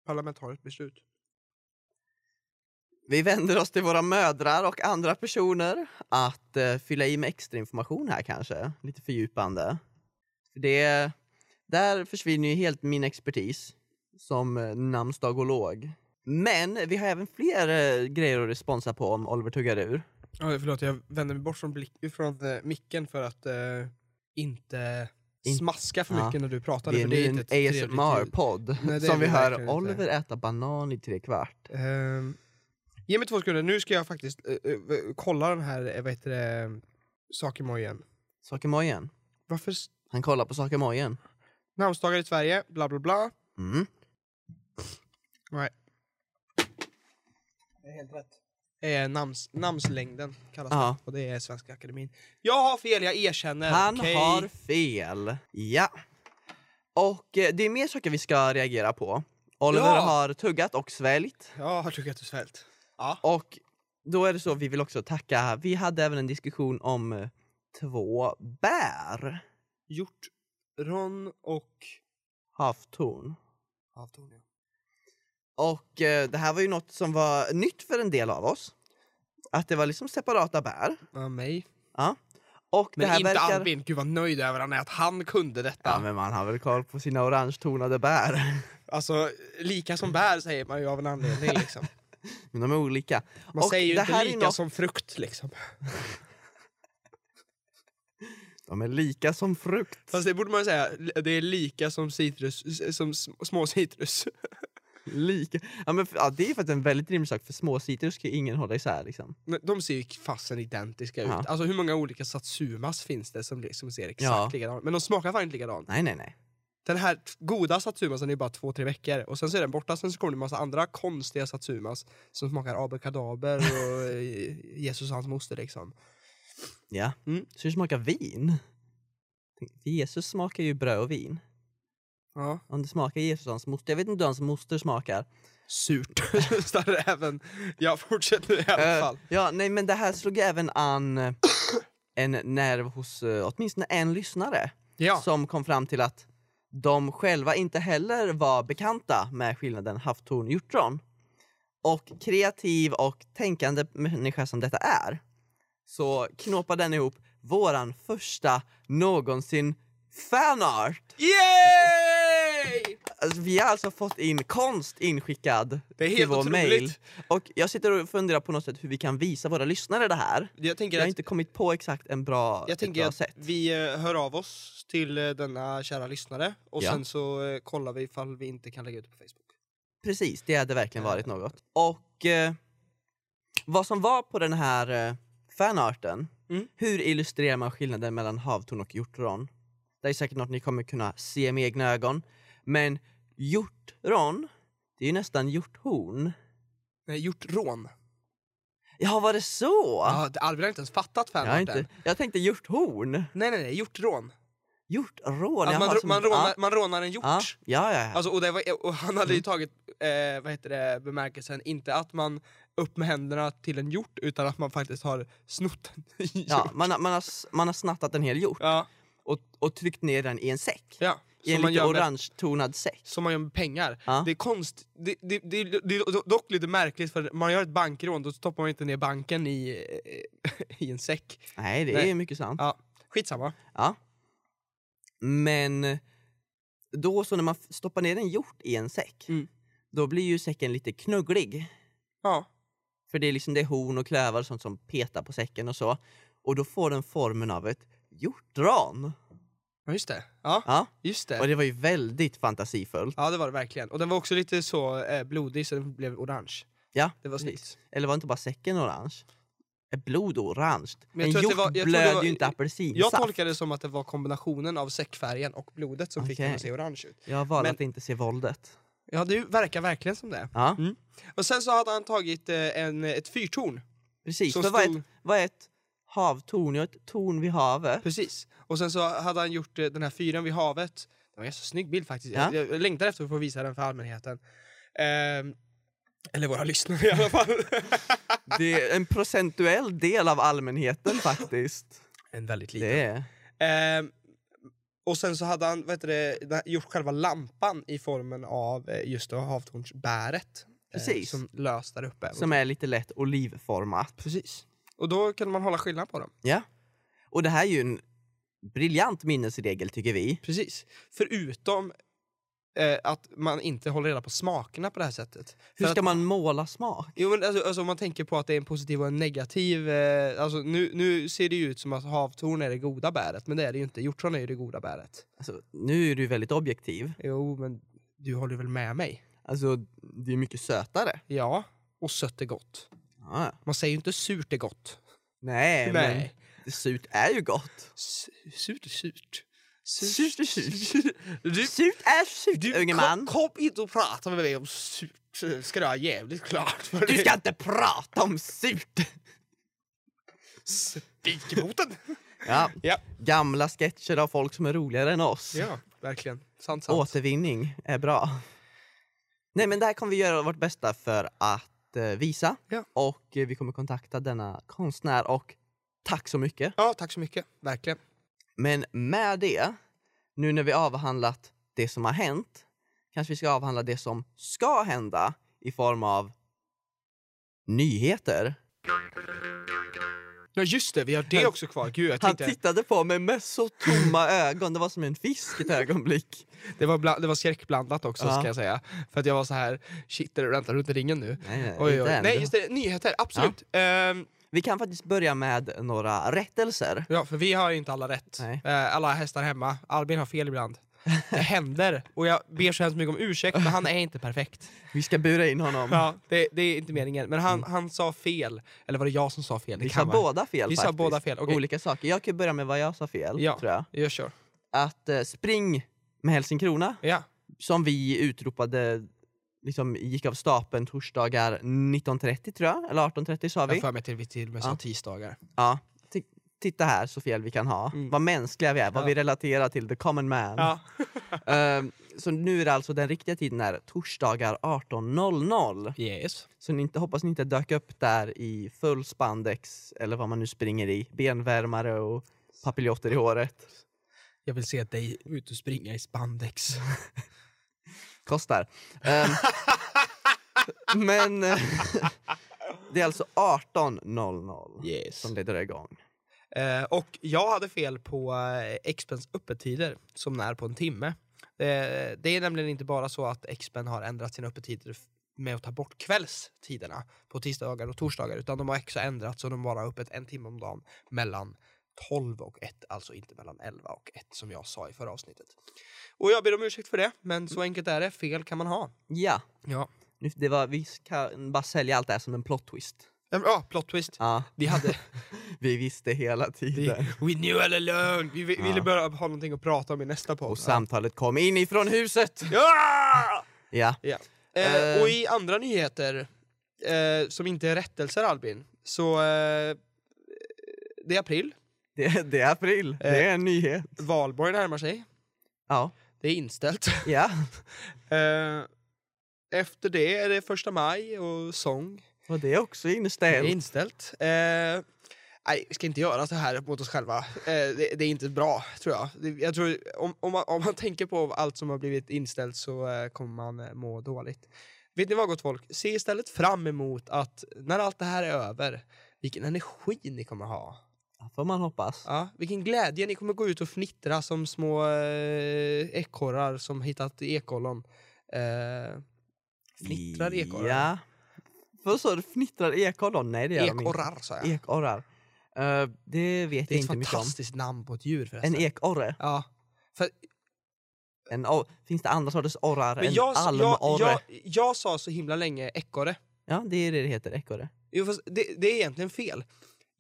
Speaker 1: parlamentariskt beslut.
Speaker 2: Vi vänder oss till våra mödrar och andra personer att eh, fylla i med extra information här kanske, lite fördjupande. För det, där försvinner ju helt min expertis som eh, namnsdagolog. Men vi har även fler eh, grejer att responsa på om Oliver tuggar ur.
Speaker 1: Ja, förlåt, jag vänder mig bort från, blick, från eh, micken för att eh, inte
Speaker 2: In-
Speaker 1: smaska för
Speaker 2: Ja.
Speaker 1: mycket när du pratar.
Speaker 2: Det är
Speaker 1: för
Speaker 2: nu en
Speaker 1: inte ett trevligt ljud.
Speaker 2: ASMR-podd
Speaker 1: Nej, det är
Speaker 2: som vi
Speaker 1: det
Speaker 2: hör
Speaker 1: verkligen inte.
Speaker 2: Oliver äta banan i tre kvart.
Speaker 1: Ehm, ge mig två sekunder, nu ska jag faktiskt eh, eh, kolla den här eh, vad heter det, sakemojen.
Speaker 2: Sakemojen.
Speaker 1: Varför s-
Speaker 2: Han kollar på sakemojen.
Speaker 1: namnsdagar i Sverige, bla bla bla.
Speaker 2: Mm.
Speaker 1: Nej. Det är helt rätt. Eh, namns, namnslängden kallas
Speaker 2: Ja.
Speaker 1: det och det är Svenska Akademin. Jag har fel, jag erkänner.
Speaker 2: Han
Speaker 1: okej?
Speaker 2: har fel. Ja. Och eh, det är mer saker vi ska reagera på. Oliver
Speaker 1: Ja.
Speaker 2: har tuggat och sväljt.
Speaker 1: Jag har tuggat och svält. Ja.
Speaker 2: Och då är det så vi vill också tacka. Vi hade även en diskussion om eh, två bär.
Speaker 1: Hjortron och
Speaker 2: Havtorn.
Speaker 1: havtorn. Ja.
Speaker 2: Och eh, det här var ju något som var nytt för en del av oss. Att det var liksom separata bär.
Speaker 1: Ja, mig.
Speaker 2: Ja. Och
Speaker 1: Men
Speaker 2: det här
Speaker 1: inte
Speaker 2: verkar...
Speaker 1: Albin. Gud vad nöjd över han är att han kunde detta.
Speaker 2: Ja, men man har väl koll på sina orangetonade bär.
Speaker 1: Alltså, lika som bär säger man ju av en anledning liksom.
Speaker 2: Men de är olika.
Speaker 1: Man
Speaker 2: Och
Speaker 1: säger ju
Speaker 2: det
Speaker 1: inte
Speaker 2: här är
Speaker 1: lika
Speaker 2: något-
Speaker 1: som frukt liksom.
Speaker 2: De är lika som frukt.
Speaker 1: Fast det borde man ju säga, det är lika som citrus, som sm- små citrus.
Speaker 2: Lika. Ja, men, f- ja, det är faktiskt en väldigt rimlig sak, för små citrus ska ju ingen hålla isär. Liksom.
Speaker 1: Men De ser ju fasen identiska
Speaker 2: Ja.
Speaker 1: ut. Alltså hur många olika satsumas finns det som liksom ser exakt
Speaker 2: Ja.
Speaker 1: likadana Men de smakar fan inte likadant.
Speaker 2: Nej, nej, nej.
Speaker 1: Den här t- goda satsumasen är ju bara två, tre veckor och sen så är den borta. Sen så kommer det en massa andra konstiga satsumas som smakar abrakadaber och eh, Jesus och hans moster liksom.
Speaker 2: Ja.
Speaker 1: Mm.
Speaker 2: Så hur smakar vin? Tänk, Jesus smakar ju bröd och vin.
Speaker 1: Ja.
Speaker 2: Om det smakar Jesus och hans moster. Jag vet inte hur hans moster smakar.
Speaker 1: Surt. Starr även. Jag fortsätter i alla
Speaker 2: Eh,
Speaker 1: fall.
Speaker 2: ja, nej, men det här slog även an eh, en nerv hos eh, åtminstone en lyssnare.
Speaker 1: Ja.
Speaker 2: som kom fram till att de själva inte heller var bekanta med skillnaden havtorn-hjortron. Och kreativ och tänkande människa som detta är så knåpar den ihop våran första någonsin fanart.
Speaker 1: Yay!
Speaker 2: Alltså, vi har alltså fått in konst inskickad
Speaker 1: Det är helt
Speaker 2: till vår
Speaker 1: otroligt.
Speaker 2: mail. Och jag sitter och funderar på något sätt hur vi kan visa våra lyssnare det här.
Speaker 1: Jag
Speaker 2: Jag
Speaker 1: tänker
Speaker 2: har
Speaker 1: att,
Speaker 2: inte kommit på exakt en bra,
Speaker 1: jag
Speaker 2: ett
Speaker 1: tänker
Speaker 2: bra
Speaker 1: att
Speaker 2: sätt.
Speaker 1: vi eh, hör av oss till eh, denna kära lyssnare och
Speaker 2: Ja.
Speaker 1: sen så eh, kollar vi ifall vi inte kan lägga ut det på Facebook.
Speaker 2: Precis, det hade verkligen
Speaker 1: Eh.
Speaker 2: varit något. Och eh, vad som var på den här eh, fanarten,
Speaker 1: Mm.
Speaker 2: hur illustrerar man skillnaden mellan havtorn och hjortron? Det är säkert något ni kommer kunna se med egna ögon. Men hjortron, det är ju nästan hjorthorn.
Speaker 1: Nej, hjortrån.
Speaker 2: Ja, var det så?
Speaker 1: Ja, det- Albin har inte ens fattat
Speaker 2: jag, har
Speaker 1: fanarten.
Speaker 2: inte, jag tänkte hjorthorn.
Speaker 1: Nej, nej, nej, hjortrån.
Speaker 2: Hjortrån?
Speaker 1: Att
Speaker 2: jaha,
Speaker 1: man, rå-
Speaker 2: som-
Speaker 1: man, rånar, man rånar en hjort.
Speaker 2: Ja, Mm. ja, ja. ja.
Speaker 1: Alltså, och, det var, och han hade ju tagit eh, vad heter det, bemärkelsen, inte att man upp med händerna till en hjort utan att man faktiskt har snott en hjort.
Speaker 2: ja man, har- man, har, s- man har snattat en hel hjort
Speaker 1: Ja,
Speaker 2: och, och tryckt ner den i en säck.
Speaker 1: ja.
Speaker 2: I en
Speaker 1: Som man
Speaker 2: lite
Speaker 1: gör med
Speaker 2: orange-tonad säck.
Speaker 1: som man gör med pengar.
Speaker 2: Ja.
Speaker 1: Det är konst... Det, det, det, det är dock lite märkligt för man gör ett bankrån då stoppar man inte ner banken i, eh, i en säck.
Speaker 2: Nej, det
Speaker 1: Nej.
Speaker 2: är mycket sant.
Speaker 1: Ja. Skitsamma.
Speaker 2: Ja. Men då så när man f- stoppar ner en hjort i en säck,
Speaker 1: Mm.
Speaker 2: då blir ju säcken lite knugglig.
Speaker 1: Ja.
Speaker 2: För det är liksom det är horn och klövar och sånt som petar på säcken och så. Och då får den formen av ett hjortron.
Speaker 1: ja, just det. Ja,
Speaker 2: Ja,
Speaker 1: just
Speaker 2: och
Speaker 1: det.
Speaker 2: det var ju väldigt fantasifullt.
Speaker 1: Ja, det var det verkligen. Och den var också lite så eh, blodig så den blev orange.
Speaker 2: Ja,
Speaker 1: Det var
Speaker 2: precis.
Speaker 1: snyggt.
Speaker 2: Eller var inte bara säcken orange? Är blod orange?
Speaker 1: Men jag tror att det
Speaker 2: en hjort
Speaker 1: var- jag tror det
Speaker 2: blöder
Speaker 1: var-
Speaker 2: ju inte
Speaker 1: Jag
Speaker 2: apelsinsaft.
Speaker 1: tolkade det som att det var kombinationen av säckfärgen och blodet som fick den att
Speaker 2: Okej.
Speaker 1: se orange ut.
Speaker 2: Jag har valt
Speaker 1: Men-
Speaker 2: att inte se våldet.
Speaker 1: Ja, det verkar verkligen som det.
Speaker 2: Ja,
Speaker 1: Och sen så hade han tagit eh, en, ett fyrtorn.
Speaker 2: precis.
Speaker 1: Som
Speaker 2: För vad, är
Speaker 1: stod-
Speaker 2: ett, vad är ett havtorn? Ja, ett torn vid havet.
Speaker 1: Precis. Och sen så hade han gjort eh, den här fyren vid havet. Det var en så snygg bild faktiskt.
Speaker 2: Ja.
Speaker 1: Jag, jag längtar efter att få visa den för allmänheten. Ehm, eller våra lyssnare i alla fall.
Speaker 2: Det är en procentuell del av allmänheten faktiskt.
Speaker 1: en väldigt liten.
Speaker 2: Det är.
Speaker 1: Ehm, och sen så hade han vad heter det, den- gjort själva lampan i formen av eh, just då havtornsbäret. eh,
Speaker 2: Precis.
Speaker 1: som löst där uppe.
Speaker 2: Som är lite lätt olivformat.
Speaker 1: Precis. Och då kunde man hålla skillnad på dem.
Speaker 2: Ja. Och det här är ju en briljant minnesregel tycker vi.
Speaker 1: Precis. Förutom eh, att man inte håller reda på smakerna på det här sättet.
Speaker 2: Hur
Speaker 1: För att-
Speaker 2: ska man måla smak?
Speaker 1: Jo, men alltså, alltså, om man tänker på att det är en positiv och en negativ... Eh, alltså, nu, nu ser det ju ut som att havtorn är det goda bäret, men det är det ju inte. Hjortron är ju det goda bäret.
Speaker 2: Alltså, nu är du väldigt objektiv.
Speaker 1: Jo, men du håller väl med mig?
Speaker 2: Alltså, det är mycket sötare.
Speaker 1: Ja, och sött är gott.
Speaker 2: Ja.
Speaker 1: Man säger ju inte surt är gott.
Speaker 2: Nej, Nej, men surt är ju gott.
Speaker 1: S- Surt är surt.
Speaker 2: Surt är surt.
Speaker 1: Du,
Speaker 2: Surt är surt,
Speaker 1: du
Speaker 2: unge
Speaker 1: kom,
Speaker 2: man.
Speaker 1: kom inte och prata med mig om surt. ska du ha jävligt klart för
Speaker 2: Du
Speaker 1: dig.
Speaker 2: ska inte prata om surt!
Speaker 1: Spik i foten.
Speaker 2: Ja.
Speaker 1: Ja.
Speaker 2: Gamla sketcher av folk som är roligare än oss.
Speaker 1: ja, verkligen. Sant, sant.
Speaker 2: Återvinning är bra. Nej men det här kommer vi göra vårt bästa för att eh, visa.
Speaker 1: Ja.
Speaker 2: Och eh, vi kommer kontakta denna konstnär och tack så mycket.
Speaker 1: Ja, tack så mycket. Verkligen.
Speaker 2: Men med det, nu när vi avhandlat det som har hänt, kanske vi ska avhandla det som ska hända i form av nyheter.
Speaker 1: Ja just det, vi har det också kvar. Gud, jag
Speaker 2: Han
Speaker 1: tänkte,
Speaker 2: tittade på mig med så tomma ögon, det var som en fisk ett ögonblick.
Speaker 1: det, var bland, det var skräckblandat också
Speaker 2: Ja.
Speaker 1: ska jag säga. För att jag var så här, shit, är det- vänta, runt ringen nu.
Speaker 2: Nej, nej,
Speaker 1: Oj,
Speaker 2: inte
Speaker 1: oj.
Speaker 2: än.
Speaker 1: Nej just det, nyheter, absolut. Ehm,
Speaker 2: Vi kan faktiskt börja med några rättelser.
Speaker 1: ja, för vi har ju inte alla rätt.
Speaker 2: Nej.
Speaker 1: Eh, alla hästar hemma. Albin har fel ibland. Det händer. Och jag ber så hemskt mycket om ursäkt, men han är inte perfekt.
Speaker 2: Vi ska bura in honom.
Speaker 1: Ja, det, det är inte meningen. Men han, han sa fel. Eller var det jag som sa fel? Det
Speaker 2: Mm. Vi
Speaker 1: kan
Speaker 2: sa
Speaker 1: vara.
Speaker 2: båda fel
Speaker 1: Vi sa
Speaker 2: faktiskt.
Speaker 1: båda fel, okej.
Speaker 2: Olika saker. Jag kan börja med vad jag sa fel,
Speaker 1: Ja.
Speaker 2: tror jag.
Speaker 1: Jag kör.
Speaker 2: Att eh, spring med Helsingkrona,
Speaker 1: Ja.
Speaker 2: som vi utropade, liksom gick av stapeln torsdagar 19.30 tror jag, eller 18.30 sa
Speaker 1: Jag
Speaker 2: vi.
Speaker 1: för mig till vi till med
Speaker 2: Ja.
Speaker 1: ja. tisdagar.
Speaker 2: Ja. Ti- Titta här så fel vi kan ha.
Speaker 1: Mm.
Speaker 2: Vad mänskliga vi är, vad
Speaker 1: Ja.
Speaker 2: vi relaterar till the common man.
Speaker 1: Ja.
Speaker 2: Ehm, så nu är det alltså den riktiga tiden är torsdagar 18.00.
Speaker 1: Yes.
Speaker 2: Så ni inte, hoppas ni inte dök upp där i full spandex eller vad man nu springer i. Benvärmare och papiljotter i håret.
Speaker 1: Jag vill se dig ut och springa i spandex.
Speaker 2: Kostar. Ehm, men eh, det är alltså 18.00
Speaker 1: Yes.
Speaker 2: som det drar igång.
Speaker 1: Eh, och jag hade fel på eh, Expens öppettider som när på en timme. Eh, det är nämligen inte bara så att Expen har ändrat sina öppettider f- med att ta bort kvällstiderna på tisdagar och torsdagar utan de har också ändrat så de bara har öppet en timme om dagen mellan 12 och 1, alltså inte mellan 11 och 1 som jag sa i förra avsnittet. Och jag ber om ursäkt för det, men så enkelt är det. Fel kan man ha.
Speaker 2: Ja,
Speaker 1: Mm. Ja,
Speaker 2: nu- det var, vi kan bara sälja allt det här som en plot twist.
Speaker 1: ja ah, plot twist.
Speaker 2: Ja,
Speaker 1: Vi hade
Speaker 2: vi visste hela
Speaker 1: Vi,
Speaker 2: tiden.
Speaker 1: we knew all along! Vi, vi
Speaker 2: Ja.
Speaker 1: ville bara ha någonting att prata om i nästa podd.
Speaker 2: Och samtalet kom inifrån huset!
Speaker 1: Ja!
Speaker 2: Ja,
Speaker 1: Eh,
Speaker 2: Eh.
Speaker 1: och i andra nyheter, eh, som inte är rättelser Albin, så... Eh, det är april,
Speaker 2: det, det är april. Det
Speaker 1: Eh.
Speaker 2: är en nyhet.
Speaker 1: valborg närmar sig,
Speaker 2: Ja,
Speaker 1: det är inställt.
Speaker 2: ja.
Speaker 1: Eh, efter det är det första maj och sång,
Speaker 2: och det är också
Speaker 1: det är
Speaker 2: inställt.
Speaker 1: inställt. Eh, Nej, vi ska inte göra så här mot oss själva. Eh, det, det är inte bra, tror jag. Det, jag tror, om, om, man, om man tänker på allt som har blivit inställt så eh, kommer man eh, må dåligt. Vet ni vad, gott folk? Se istället fram emot att när allt det här är över, vilken energi ni kommer ha.
Speaker 2: Får man hoppas.
Speaker 1: Ja, vilken glädje ni kommer gå ut och fnittra som små eh, ekorrar som hittat ekollon. Eh, fnittrar ekorrar?
Speaker 2: Ja. För så fnittrar ekollon? Nej det gör
Speaker 1: ekorrar, sa jag.
Speaker 2: de inte. Ekorrar. Eh, det vet
Speaker 1: det är ett
Speaker 2: jag inte mycket om.
Speaker 1: fantastiskt namn på ett djur förresten.
Speaker 2: En ekorre?
Speaker 1: ja. För
Speaker 2: En or- Finns det andra sorters orrar?
Speaker 1: Men
Speaker 2: en
Speaker 1: jag,
Speaker 2: almorre?
Speaker 1: jag, jag, jag sa så himla länge ekorre.
Speaker 2: Ja det är det det heter, ekorre.
Speaker 1: Jo, fast det, det är egentligen fel.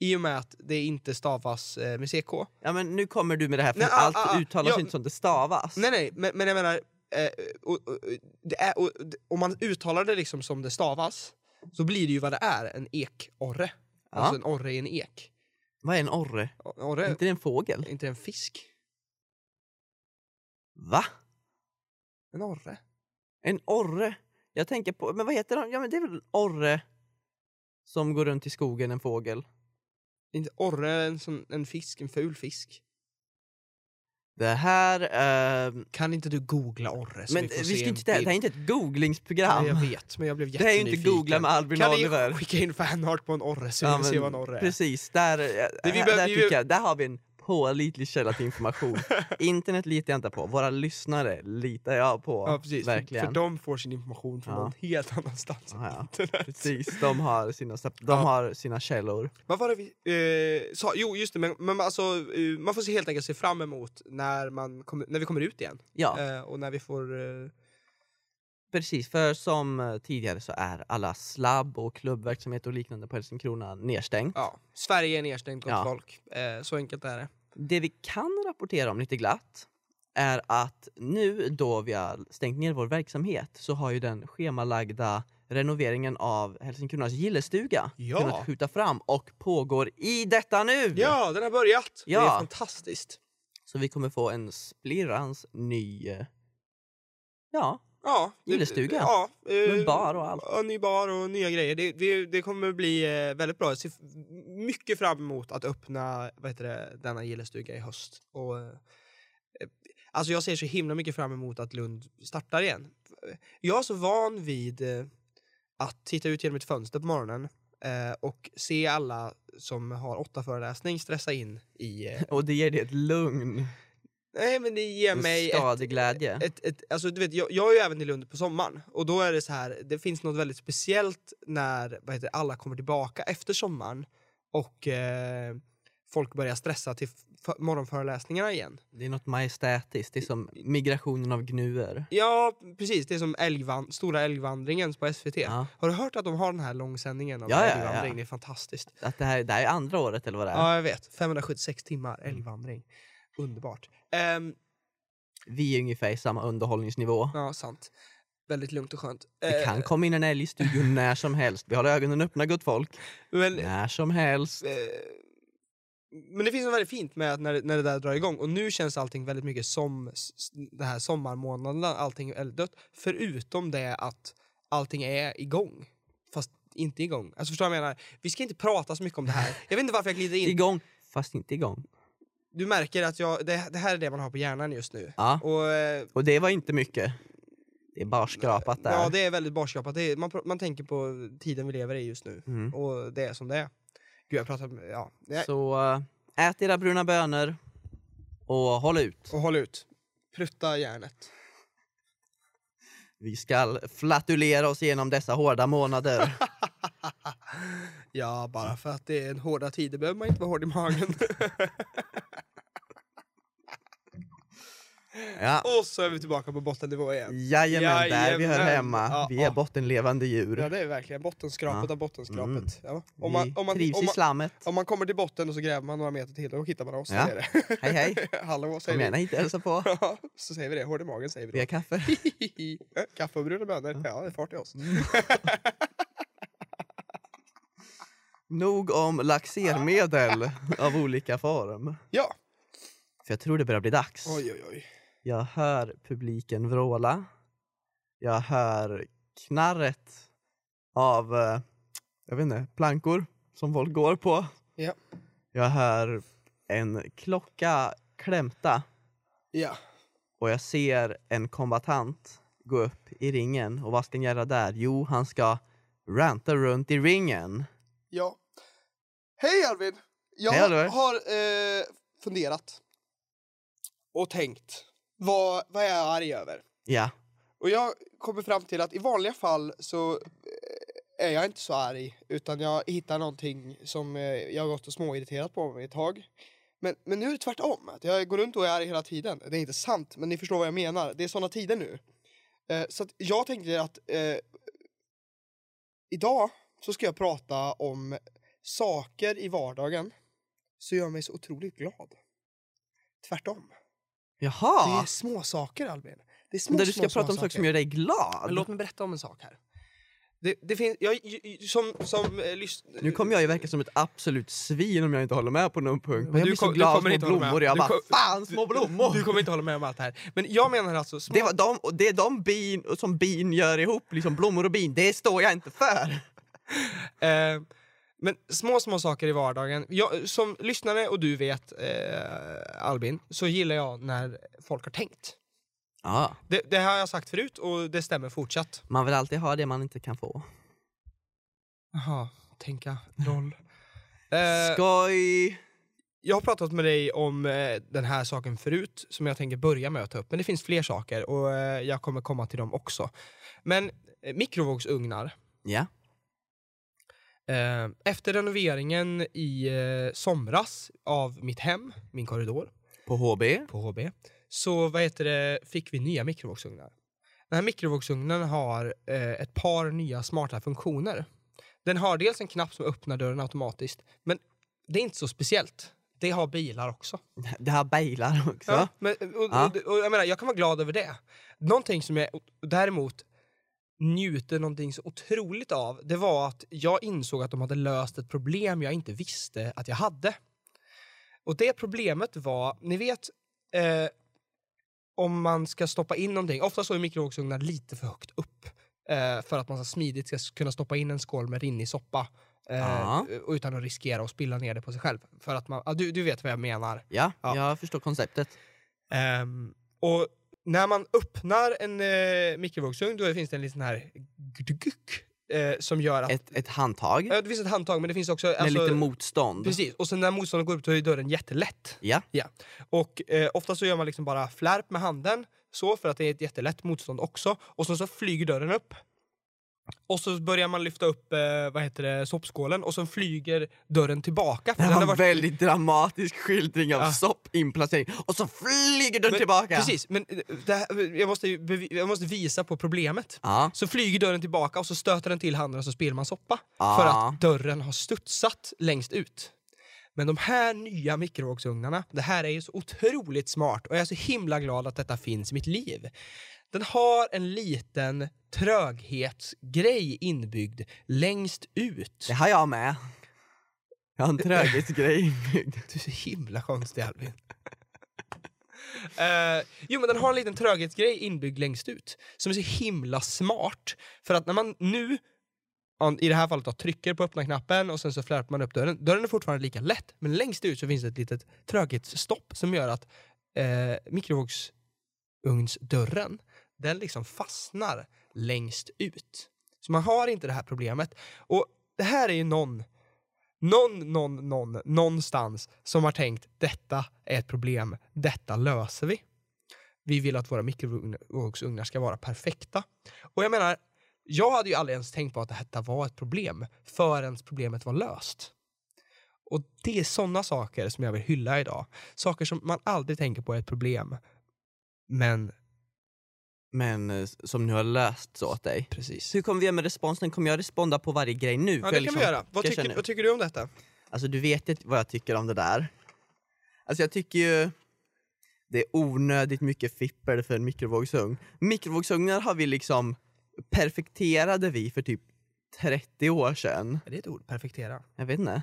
Speaker 1: I och med att det inte stavas eh, med CK.
Speaker 2: Ja men nu kommer du med det här för
Speaker 1: Nej, ah,
Speaker 2: allt
Speaker 1: ah, ah.
Speaker 2: uttalas
Speaker 1: Ja.
Speaker 2: inte som det stavas.
Speaker 1: Nej, nej, men, men jag menar... Eh, och, och, det är, och, det- om man uttalar det liksom som det stavas så blir det ju vad det är, en ekorre.
Speaker 2: Ja.
Speaker 1: Alltså Eh. en orre i en ek.
Speaker 2: Vad är en orre?
Speaker 1: Orre
Speaker 2: Är
Speaker 1: är
Speaker 2: inte det en fågel?
Speaker 1: inte en fisk.
Speaker 2: Va?
Speaker 1: En orre.
Speaker 2: En orre? Jag tänker på, men vad heter de? Ja men det är väl en orre som går runt i skogen, en fågel.
Speaker 1: Inte orre, en, sån, en fisk, en ful fisk.
Speaker 2: Det här... eh,
Speaker 1: Kan inte du googla orre? så
Speaker 2: men
Speaker 1: får
Speaker 2: vi
Speaker 1: se
Speaker 2: ska
Speaker 1: en
Speaker 2: inte, det här är inte ett googlingsprogram.
Speaker 1: Nej, jag vet, men jag blev
Speaker 2: Det här är ju
Speaker 1: jättenyfiken.
Speaker 2: inte googla med Albin
Speaker 1: Kan
Speaker 2: Oliver.
Speaker 1: ni skicka in fanart på en orre så vi
Speaker 2: Ja,
Speaker 1: kan se
Speaker 2: men
Speaker 1: vad en orre är?
Speaker 2: Precis, där,
Speaker 1: vi
Speaker 2: här-
Speaker 1: behöver-
Speaker 2: där,
Speaker 1: vi
Speaker 2: tycker
Speaker 1: behöver-
Speaker 2: jag, där har vi en pålitlig källa till information. Internet litar jag inte på, våra lyssnare litar jag på.
Speaker 1: Ja, precis. För,
Speaker 2: Verkligen.
Speaker 1: för de får sin information från
Speaker 2: Ja.
Speaker 1: någon helt annanstans än
Speaker 2: Ja, ja.
Speaker 1: internet.
Speaker 2: Precis, de har sina, sep- de
Speaker 1: Ja.
Speaker 2: har sina källor.
Speaker 1: Vad var det vi eh, sa? Jo, just det. Men, men alltså, eh, man får se, helt enkelt se fram emot när, man kommer- när vi kommer ut igen.
Speaker 2: Ja,
Speaker 1: Eh, och när vi får... Eh,
Speaker 2: precis. För som eh, tidigare så är alla slabb och klubbverksamhet och liknande på Helsingkrona nedstängt.
Speaker 1: ja, Sverige är nedstängt, gott
Speaker 2: Ja.
Speaker 1: folk. Eh, så enkelt är det.
Speaker 2: Det vi kan rapportera om lite glatt är att nu då vi har stängt ner vår verksamhet så har ju den schemalagda renoveringen av Helsingkronas gillestuga
Speaker 1: Ja.
Speaker 2: kunnat skjuta fram och pågår i detta nu!
Speaker 1: Ja, den har börjat! Det
Speaker 2: Ja.
Speaker 1: är fantastiskt.
Speaker 2: Så vi kommer få en splirrans ny... eh, Ja,
Speaker 1: Ja, det-
Speaker 2: Gillestuga.
Speaker 1: Ja, eh,
Speaker 2: Med bar och allt.
Speaker 1: Ja, ny bar och nya grejer. Det, det, det kommer bli eh, väldigt bra. Jag ser f- mycket fram emot att öppna vad heter det, denna gillestuga i höst. Och, eh, alltså jag ser så himla mycket fram emot att Lund startar igen. Jag är så van vid eh, att titta ut genom ett fönster på morgonen eh, och se alla som har åtta föreläsning stressa in i... Eh,
Speaker 2: Och det ger dig ett lugn.
Speaker 1: nej, men det ger
Speaker 2: En
Speaker 1: mig ett,
Speaker 2: stadig glädje.
Speaker 1: ett, ett, alltså, du vet, jag, jag är ju även i Lund på sommaren och då är det så här, det finns något väldigt speciellt när vad heter, det, alla kommer tillbaka efter sommaren och eh, folk börjar stressa till f- morgonföreläsningarna igen.
Speaker 2: Det är något majestätiskt. Det är som migrationen av gnuer.
Speaker 1: Ja, precis. Det är som älgvan- Stora älgvandringen på SVT.
Speaker 2: Ja.
Speaker 1: Har du hört att de har den här långsändningen av
Speaker 2: Ja, ja, ja.
Speaker 1: älgvandring? Det är fantastiskt.
Speaker 2: Att det, här, det här är andra året eller vad det är.
Speaker 1: Ja, jag vet. 576 timmar
Speaker 2: Mm.
Speaker 1: älgvandring. Underbart. Ehm,
Speaker 2: Vi är ungefär i samma underhållningsnivå.
Speaker 1: ja, sant. Väldigt lugnt och skönt.
Speaker 2: Det
Speaker 1: Eh,
Speaker 2: kan komma in en älg i studion när som helst. Vi har ögonen öppna gott folk.
Speaker 1: men,
Speaker 2: När som helst.
Speaker 1: eh, men det finns något väldigt fint med att när, det- när det där drar igång. Och nu känns allting väldigt mycket som s- s- den här sommarmånaden. Allting är elddött. Förutom det att allting är igång. Fast inte igång. Alltså förstår du vad jag menar? Vi ska inte prata så mycket om det här. Jag vet inte varför jag glider in.
Speaker 2: Igång, fast inte igång.
Speaker 1: du märker att jag, det, det här är det man har på hjärnan just nu.
Speaker 2: Ja.
Speaker 1: Och, eh,
Speaker 2: Och det var inte mycket. Det är bara skrapat där.
Speaker 1: ja, det är väldigt barskrapat. Det är- Man, pr- man tänker på tiden vi lever i just nu.
Speaker 2: Mm.
Speaker 1: Och det är som det är. Gud, jag pratar... med- Ja. Nej.
Speaker 2: Så eh, ät era bruna bönor och håll ut.
Speaker 1: Och håll ut. Prutta järnet.
Speaker 2: Vi ska flatulera oss igenom dessa hårda månader.
Speaker 1: Ja, bara för att det är en hårda tider behöver man inte vara hård i magen.
Speaker 2: Ja.
Speaker 1: och så är vi tillbaka på bottennivå igen.
Speaker 2: Jajamän, där vi hör
Speaker 1: Jajamän.
Speaker 2: hemma.
Speaker 1: Ja,
Speaker 2: vi är
Speaker 1: ja.
Speaker 2: bottenlevande djur.
Speaker 1: Ja, det är verkligen bottenskrapet
Speaker 2: Ja.
Speaker 1: av bottenskrapet.
Speaker 2: Mm.
Speaker 1: Ja. Om, man, om, man,
Speaker 2: vi trivs
Speaker 1: om,
Speaker 2: i
Speaker 1: man,
Speaker 2: slammet.
Speaker 1: om man kommer till botten och så gräver man några meter till, då hittar man oss.
Speaker 2: Ja.
Speaker 1: Så är det.
Speaker 2: Hej hej,
Speaker 1: Hallå,
Speaker 2: kom
Speaker 1: säger vi.
Speaker 2: gärna hit och hälsa på.
Speaker 1: Ja, så säger vi det. Hård i magen säger vi då.
Speaker 2: Vi har kaffe.
Speaker 1: Hihi. Eh, Kaffe och bruna bönor. Ja, det är fart i oss.
Speaker 2: Mm. Nog om laxermedel av olika form.
Speaker 1: Ja.
Speaker 2: För jag tror det börjar bli dags.
Speaker 1: Oj, oj, oj.
Speaker 2: Jag hör publiken vråla. Jag hör knarret av, eh, jag vet inte, plankor som folk går på.
Speaker 1: Ja.
Speaker 2: Jag hör en klocka klämta
Speaker 1: Ja.
Speaker 2: och jag ser en kombatant gå upp i ringen. Och vad ska han göra där? Jo, han ska ranta runt i ringen.
Speaker 1: Ja. Hej Arvid! Jag
Speaker 2: Hej, Oliver.
Speaker 1: har eh, funderat. Och tänkt. Vad, vad är jag arg över?
Speaker 2: Ja,
Speaker 1: Och jag kommer fram till att i vanliga fall så eh, är jag inte så arg. Utan jag hittar någonting som eh, jag har gått och småirriterat på mig ett tag. Men, men nu är det tvärtom. Att jag går runt och är arg hela tiden. Det är inte sant, men ni förstår vad jag menar. Det är såna tider nu. Eh, så att jag tänkte att eh, idag så ska jag prata om saker i vardagen som gör mig så otroligt glad. Tvärtom. Det
Speaker 2: jaha!
Speaker 1: är små saker, Albin. Det är små,
Speaker 2: Där du
Speaker 1: små,
Speaker 2: ska
Speaker 1: små
Speaker 2: prata om saker som gör dig glad.
Speaker 1: men låt mig berätta om en sak här. Det, det finns, jag, j- j- som, som eh, lys-
Speaker 2: Nu kommer jag ju verka som ett absolut svin om jag inte håller med på någon punkt. Men
Speaker 1: Men
Speaker 2: jag
Speaker 1: du
Speaker 2: blir så
Speaker 1: kom- du
Speaker 2: glad
Speaker 1: kommer
Speaker 2: små
Speaker 1: inte hålla
Speaker 2: blommor.
Speaker 1: med.
Speaker 2: Jag
Speaker 1: Du
Speaker 2: bara,
Speaker 1: kom-
Speaker 2: fan små blommor!
Speaker 1: Du kommer inte hålla med om allt här. Men jag menar alltså små...
Speaker 2: Det, var de, och det är de bin som bin gör ihop, liksom blommor och bin. Det står jag inte för!
Speaker 1: Eh, men små, små saker i vardagen. Jag, som lyssnare och du vet, eh, Albin, så gillar jag när folk har tänkt.
Speaker 2: Ja,
Speaker 1: Det, det har jag sagt förut och det stämmer fortsatt.
Speaker 2: man vill alltid ha det man inte kan få.
Speaker 1: Jaha, tänka, roll. Eh,
Speaker 2: Skoj!
Speaker 1: Jag har pratat med dig om eh, den här saken förut som jag tänker börja med att ta upp. Men det finns fler saker och eh, jag kommer komma till dem också. Men eh, mikrovågsugnar.
Speaker 2: Ja.
Speaker 1: Eh, efter renoveringen i eh, somras av mitt hem, min korridor
Speaker 2: På HB?
Speaker 1: på HB, så vad heter det, fick vi nya mikrovågsugnar. Den här mikrovågsugnen har eh, ett par nya smarta funktioner. Den har dels en knapp som öppnar dörren automatiskt, men det är inte så speciellt. Det har bilar också.
Speaker 2: Det här bailar också.
Speaker 1: Ja, men, och,
Speaker 2: Ja.
Speaker 1: och, och, jag menar, jag kan vara glad över det. Någonting som jag däremot njuter någonting så otroligt av, det var att jag insåg att de hade löst ett problem jag inte visste att jag hade. Och det problemet var, ni vet, eh, om man ska stoppa in någonting, ofta så är mikrovågsugnar lite för högt upp eh, för att man så smidigt ska kunna stoppa in en skål med rinnig soppa eh,
Speaker 2: Ja.
Speaker 1: och utan att riskera att spilla ner det på sig själv. För att man, ja, du, du vet vad jag menar.
Speaker 2: Ja,
Speaker 1: Ja.
Speaker 2: jag förstår konceptet.
Speaker 1: Ehm, och när man öppnar en eh, mikrovågsugn då finns det en liten sån här gdguk, eh, som gör att...
Speaker 2: Ett, ett handtag med
Speaker 1: Ja, det finns ett handtag men det finns också... Eh, Alltså,
Speaker 2: lite motstånd.
Speaker 1: precis, och sen när motståndaren går upp då är dörren jättelätt.
Speaker 2: Ja,
Speaker 1: Och eh, ofta så gör man liksom bara flärp med handen, så för att det är ett jättelätt motstånd också. Och sen så flyger dörren upp. Och så börjar man lyfta upp eh, vad heter det, soppskålen och sen flyger dörren tillbaka. För den
Speaker 2: det var
Speaker 1: har
Speaker 2: en
Speaker 1: varit-
Speaker 2: väldigt dramatisk skildring av
Speaker 1: Ja.
Speaker 2: soppinplacering och så flyger den
Speaker 1: Men-
Speaker 2: tillbaka!
Speaker 1: Precis, men eh, det här, jag, måste ju bevi- jag måste visa på problemet.
Speaker 2: Ja,
Speaker 1: Så flyger dörren tillbaka och så stöter den till handen och så spelar man soppa.
Speaker 2: Ja.
Speaker 1: För att dörren har studsat längst ut. Men de här nya mikrovågsugnarna, det här är ju så otroligt smart och jag är så himla glad att detta finns i mitt liv. Den har en liten tröghetsgrej inbyggd längst ut.
Speaker 2: det har jag med. Jag har en tröghetsgrej inbyggd.
Speaker 1: Du är så himla konstig Albin. Eh, jo men den har en liten tröghetsgrej inbyggd längst ut som är så himla smart. För att när man nu, an- i det här fallet då, trycker på öppna knappen och sen så flärpar man upp dörren. Dörren är fortfarande lika lätt men längst ut så finns det ett litet tröghetsstopp som gör att eh, mikrovågsugnsdörren, den liksom fastnar längst ut. Så man har inte det här problemet. Och det här är ju någon någon, någon, någon, någonstans som har tänkt detta är ett problem, detta löser vi. Vi vill att våra mikrovågsugnar ska vara perfekta. Och jag menar, jag hade ju aldrig ens tänkt på att detta var ett problem förrän problemet var löst. Och det är sådana saker som jag vill hylla idag. Saker som man aldrig tänker på är ett problem. Men
Speaker 2: Men eh, som nu har lösts åt dig.
Speaker 1: precis.
Speaker 2: Så hur kommer vi göra med responsen? Kommer jag responda på varje grej nu?
Speaker 1: Ja,
Speaker 2: För
Speaker 1: det kan vi
Speaker 2: jag liksom-
Speaker 1: göra. Vad
Speaker 2: jag känner-
Speaker 1: tycker, vad tycker du om detta?
Speaker 2: Alltså du vet ju vad jag tycker om det där. Alltså jag tycker ju det är onödigt mycket fippel för en mikrovågsugn. Mikrovågsugnar har vi liksom perfekterade vi för typ 30 år sedan.
Speaker 1: Är det ett ord? Perfektera.
Speaker 2: Jag vet inte.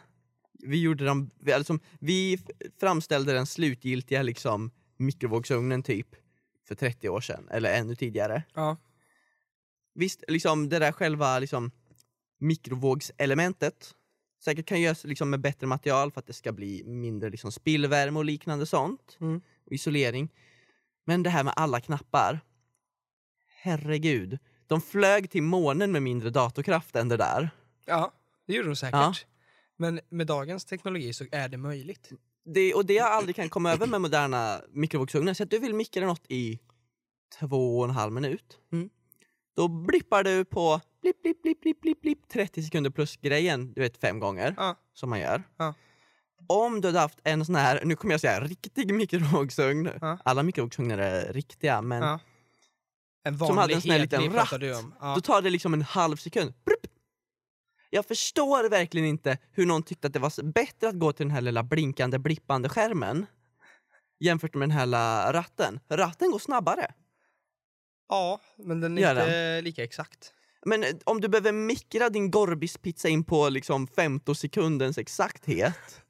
Speaker 2: Vi gjorde dem, vi, alltså, vi framställde den slutgiltiga liksom mikrovågsugnen typ för 30 år sedan eller ännu tidigare.
Speaker 1: Ja.
Speaker 2: Visst, liksom det där själva liksom, mikrovågselementet säkert kan göras liksom, med bättre material för att det ska bli mindre liksom, spillvärme och liknande sånt.
Speaker 1: Mm.
Speaker 2: Och isolering. Men det här med alla knappar. Herregud. De flög till månen med mindre datorkraft än det där.
Speaker 1: Ja, det gjorde de säkert.
Speaker 2: Ja.
Speaker 1: Men med dagens teknologi så är det möjligt.
Speaker 2: Det, och det jag aldrig kan komma över med moderna mikrovågsugnar, så att du vill mikra något i två och en halv minut.
Speaker 1: Mm.
Speaker 2: Då blippar du på blipp, blipp, blipp, blipp, blipp, blipp, 30 sekunder plus grejen, du vet fem gånger.
Speaker 1: Ja.
Speaker 2: Som man gör.
Speaker 1: Ja.
Speaker 2: Om du hade haft en sån här, nu kommer jag säga riktig mikrovågsugn.
Speaker 1: Ja.
Speaker 2: Alla mikrovågsugnar är riktiga men
Speaker 1: Ja. En vanlig
Speaker 2: Som hade en sån här
Speaker 1: hetlig
Speaker 2: liten
Speaker 1: pratar du
Speaker 2: ratt.
Speaker 1: om. Ja.
Speaker 2: då tar det liksom en halv sekund. Brupp. Jag förstår verkligen inte hur någon tyckte att det var s- bättre att gå till den här lilla blinkande, blippande skärmen jämfört med den här lilla ratten. Ratten går snabbare.
Speaker 1: ja, men den är
Speaker 2: Gör
Speaker 1: inte lika exakt.
Speaker 2: Men eh, om du behöver mikra din Gorbis-pizza in på liksom 15 sekundens exakthet.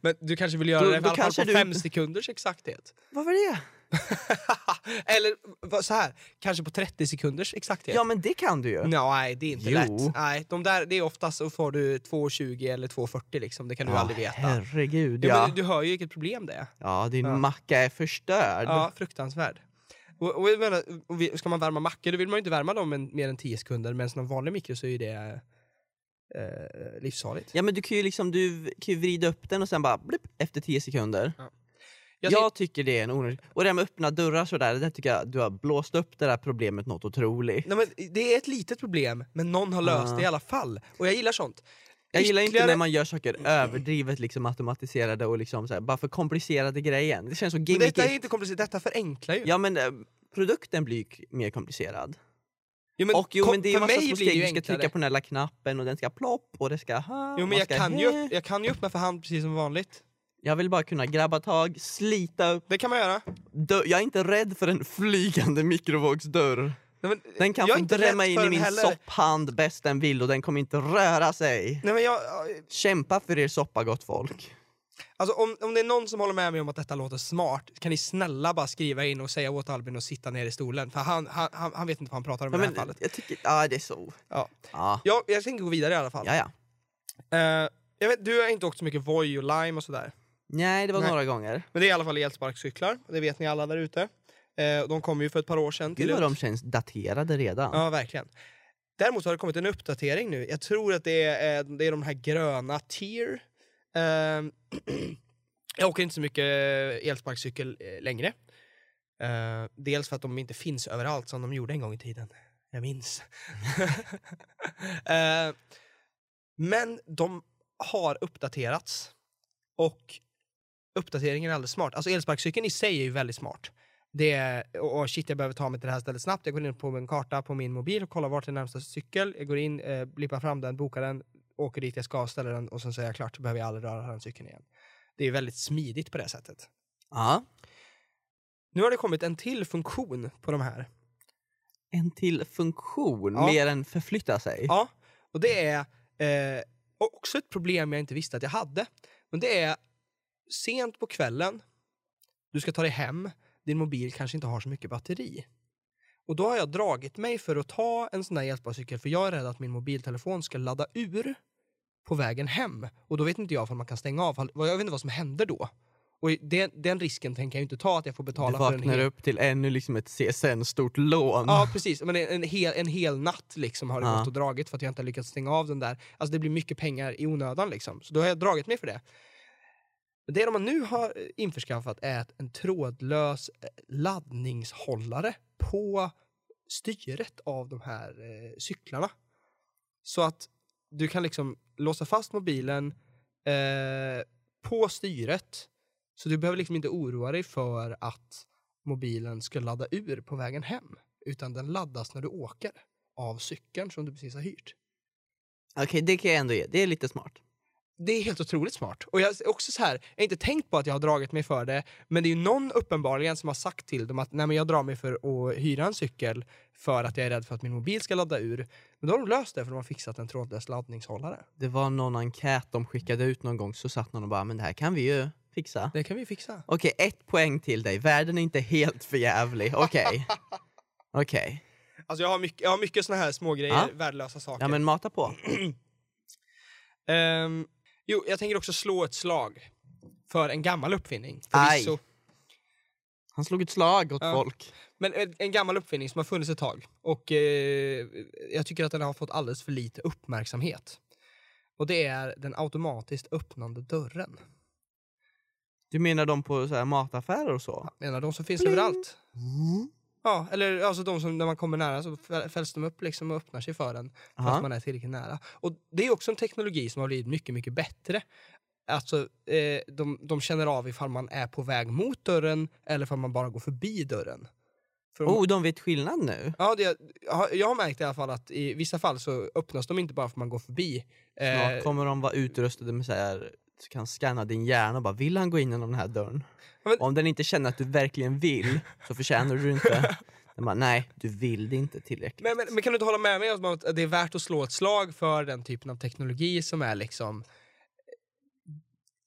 Speaker 1: Men du kanske vill göra
Speaker 2: Då-
Speaker 1: det i
Speaker 2: då
Speaker 1: alla fall
Speaker 2: kanske
Speaker 1: på
Speaker 2: du-
Speaker 1: fem sekunders exakthet?
Speaker 2: Varför det?
Speaker 1: Eller vad- så här, kanske på 30 sekunders exakthet?
Speaker 2: Ja men det kan du ju.
Speaker 1: Nej, det är inte
Speaker 2: Jo.
Speaker 1: lätt. Nej, de där, det är oftast så får du 2,20 eller 2,40 liksom. Det kan du
Speaker 2: Ja,
Speaker 1: aldrig veta.
Speaker 2: Herregud
Speaker 1: Ja,
Speaker 2: ja.
Speaker 1: men du hör ju vilket problem det är.
Speaker 2: Ja, din
Speaker 1: Ja.
Speaker 2: macka är förstörd.
Speaker 1: Ja, fruktansvärd. Och, och jag menar, och vi- ska man värma mackor då vill man ju inte värma dem en, mer än 10 sekunder medan någon vanlig mikro så är ju det eh, livsfarligt.
Speaker 2: Ja men du kan ju liksom du kan ju vrida upp den och sen bara blipp, efter 10 sekunder.
Speaker 1: Jag
Speaker 2: Jag,
Speaker 1: ser-
Speaker 2: tycker det är en onödig... Och det här med öppna dörrar sådär, det där tycker jag du har blåst upp det där problemet något otroligt.
Speaker 1: Nej, men det är ett litet problem, men någon har löst
Speaker 2: Ja.
Speaker 1: det i alla fall. Och jag gillar sånt.
Speaker 2: Jag gillar inte
Speaker 1: Ytterligare-
Speaker 2: när man gör saker överdrivet liksom automatiserade och liksom såhär, bara för komplicerade grejen. Det känns så
Speaker 1: Men detta är
Speaker 2: gimmicky.
Speaker 1: inte komplicerat, detta förenklar ju.
Speaker 2: Ja men eh, produkten blir ju k- mer komplicerad.
Speaker 1: Jo, men
Speaker 2: och jo
Speaker 1: kom-
Speaker 2: men det är
Speaker 1: för
Speaker 2: ju massa
Speaker 1: mig
Speaker 2: små
Speaker 1: blir det
Speaker 2: steg,
Speaker 1: ju
Speaker 2: du ska
Speaker 1: enklare.
Speaker 2: trycka på den här lilla knappen och den ska plopp och det ska... Ha,
Speaker 1: Jo,
Speaker 2: man
Speaker 1: men jag
Speaker 2: ska,
Speaker 1: kan, ju,
Speaker 2: he.
Speaker 1: öpp- jag kan ju öppna för hand precis som vanligt.
Speaker 2: Jag vill bara kunna grabba tag, slita upp.
Speaker 1: Det kan man göra.
Speaker 2: Dö- jag är inte rädd för en flygande mikrovågsdörr.
Speaker 1: Nej, men,
Speaker 2: Den kan
Speaker 1: jag är
Speaker 2: få
Speaker 1: inte
Speaker 2: drämma
Speaker 1: rädd
Speaker 2: in
Speaker 1: för
Speaker 2: i
Speaker 1: den
Speaker 2: min
Speaker 1: heller.
Speaker 2: sopphand bäst den vill och den kommer inte röra sig.
Speaker 1: Nej, men jag,
Speaker 2: Kämpa för er soppa gott folk.
Speaker 1: Alltså om, om det är någon som håller med mig om att detta låter smart, kan ni snälla bara skriva in och säga åt Albin att sitta ner i stolen? För han, han, han, han vet inte vad han pratar om
Speaker 2: Ja,
Speaker 1: i det här
Speaker 2: men,
Speaker 1: fallet.
Speaker 2: jag tycker, ja det är så.
Speaker 1: Ja.
Speaker 2: Ja,
Speaker 1: Jag, jag tänker gå vidare i alla fall.
Speaker 2: ja. ja.
Speaker 1: Eh, jag vet, du har inte åkt så mycket Voi och Lime och sådär.
Speaker 2: Nej det var
Speaker 1: Nej.
Speaker 2: några gånger.
Speaker 1: Men det är i alla fall elsparkcyklar, det vet ni alla där ute. Eh, de kom ju för ett par år sedan.
Speaker 2: Gud
Speaker 1: till
Speaker 2: vad
Speaker 1: ut.
Speaker 2: de känns daterade redan.
Speaker 1: Ja, verkligen. Däremot har det kommit en uppdatering nu. Jag tror att det är, eh, det är de här gröna tier. Ehm, jag åker inte så mycket eh, elsparkcykel eh, längre. Eh, dels för att de inte finns överallt som de gjorde en gång i tiden. Jag minns. Eh, men de har uppdaterats. Och uppdateringen är alldeles smart. Alltså elsparkcykeln i sig är ju väldigt smart. Det är, och och shit, jag behöver ta mig till det här stället snabbt. Jag går in på en karta på min mobil och kollar vart är närmsta cykel. Jag går in, eh, blippar fram den, bokar den, åker dit jag ska, ställer den och sen säger jag klart. Behöver jag aldrig röra den cykeln igen. Det är väldigt smidigt på det sättet.
Speaker 2: Ja.
Speaker 1: Nu har det kommit en till funktion på de här.
Speaker 2: En till funktion,
Speaker 1: Ja.
Speaker 2: mer än förflytta sig.
Speaker 1: Ja, och det är eh, också ett problem jag inte visste att jag hade. Men det är sent på kvällen, du ska ta dig hem, din mobil kanske inte har så mycket batteri. Och då har jag dragit mig för att ta en sån där elsparkcykel för jag är rädd att min mobiltelefon ska ladda ur på vägen hem. Och då vet inte jag om man kan stänga av. Jag vet inte vad som händer då. Och den, den risken tänker jag inte ta att jag får
Speaker 2: Du
Speaker 1: betala för en
Speaker 2: vaknar
Speaker 1: hel
Speaker 2: upp till ännu liksom ett CSN-stort lån.
Speaker 1: Ja, precis. Men en, en, hel, en hel natt liksom har det
Speaker 2: Ja.
Speaker 1: gått och dragit för att jag inte har lyckats stänga av den där. Alltså det blir mycket pengar i onödan liksom. Så då har jag dragit mig för det. Men Det de nu har eh, införskaffat är ett- en trådlös eh, laddningshållare på styret av de här eh, cyklarna. Så att du kan liksom låsa fast mobilen eh, på styret. Så du behöver liksom inte oroa dig för att mobilen ska ladda ur på vägen hem. Utan den laddas när du åker av cykeln som du precis har hyrt.
Speaker 2: Okej, det kan jag ändå ge. Det är lite smart.
Speaker 1: Det är helt otroligt smart. Och jag, är också så här, jag har inte tänkt på att jag har dragit mig för det, men det är ju någon uppenbarligen som har sagt till dem att Nej, men jag drar mig för att hyra en cykel för att jag är rädd för att min mobil ska ladda ur. Men då har de löst det för de har fixat en trådlös laddningshållare.
Speaker 2: Det var någon enkät de skickade ut någon gång så satt någon och bara “men det här kan vi ju fixa”.
Speaker 1: Det kan vi fixa.
Speaker 2: Okej, ett poäng till dig. Världen är inte helt förjävlig. Okej. Okej.
Speaker 1: Alltså jag har mycket, jag har mycket såna här små grejer,
Speaker 2: Ja.
Speaker 1: värdelösa saker.
Speaker 2: Ja men mata på.
Speaker 1: Ehm, jo, jag tänker också slå ett slag för en gammal uppfinning.
Speaker 2: Aj.
Speaker 1: Förvisso.
Speaker 2: Han slog ett slag åt
Speaker 1: Ja.
Speaker 2: folk.
Speaker 1: Men eh, en- en gammal uppfinning som har funnits ett tag. Och eh, jag tycker att den har fått alldeles för lite uppmärksamhet. Och det är den automatiskt öppnande dörren.
Speaker 2: Du menar de på så här mataffärer och så? Mm.
Speaker 1: En av de som finns
Speaker 2: Pling.
Speaker 1: överallt. Ja, eller alltså de som när man kommer nära så fä- fälls de upp liksom och öppnar sig för en. Fast
Speaker 2: Aha.
Speaker 1: man är tillräckligt nära. Och det är också en teknologi som har blivit mycket, mycket bättre. Alltså, eh, de, de känner av ifall man är på väg mot dörren eller ifall man bara går förbi dörren. För om-
Speaker 2: Oh, de vet skillnad nu?
Speaker 1: Ja, det, jag har- jag har märkt i alla fall att i vissa fall så öppnas de inte bara för att man går förbi.
Speaker 2: Snart
Speaker 1: Eh,
Speaker 2: kommer de vara utrustade med så här så kan scanna din hjärna och bara vill han gå in genom den här dörren?
Speaker 1: Ja, men-
Speaker 2: Om den inte känner att du verkligen vill så förtjänar du det inte. Den bara, nej, du vill det inte tillräckligt.
Speaker 1: men, men, men kan du inte hålla med mig om att det är värt att slå ett slag för den typen av teknologi som är liksom...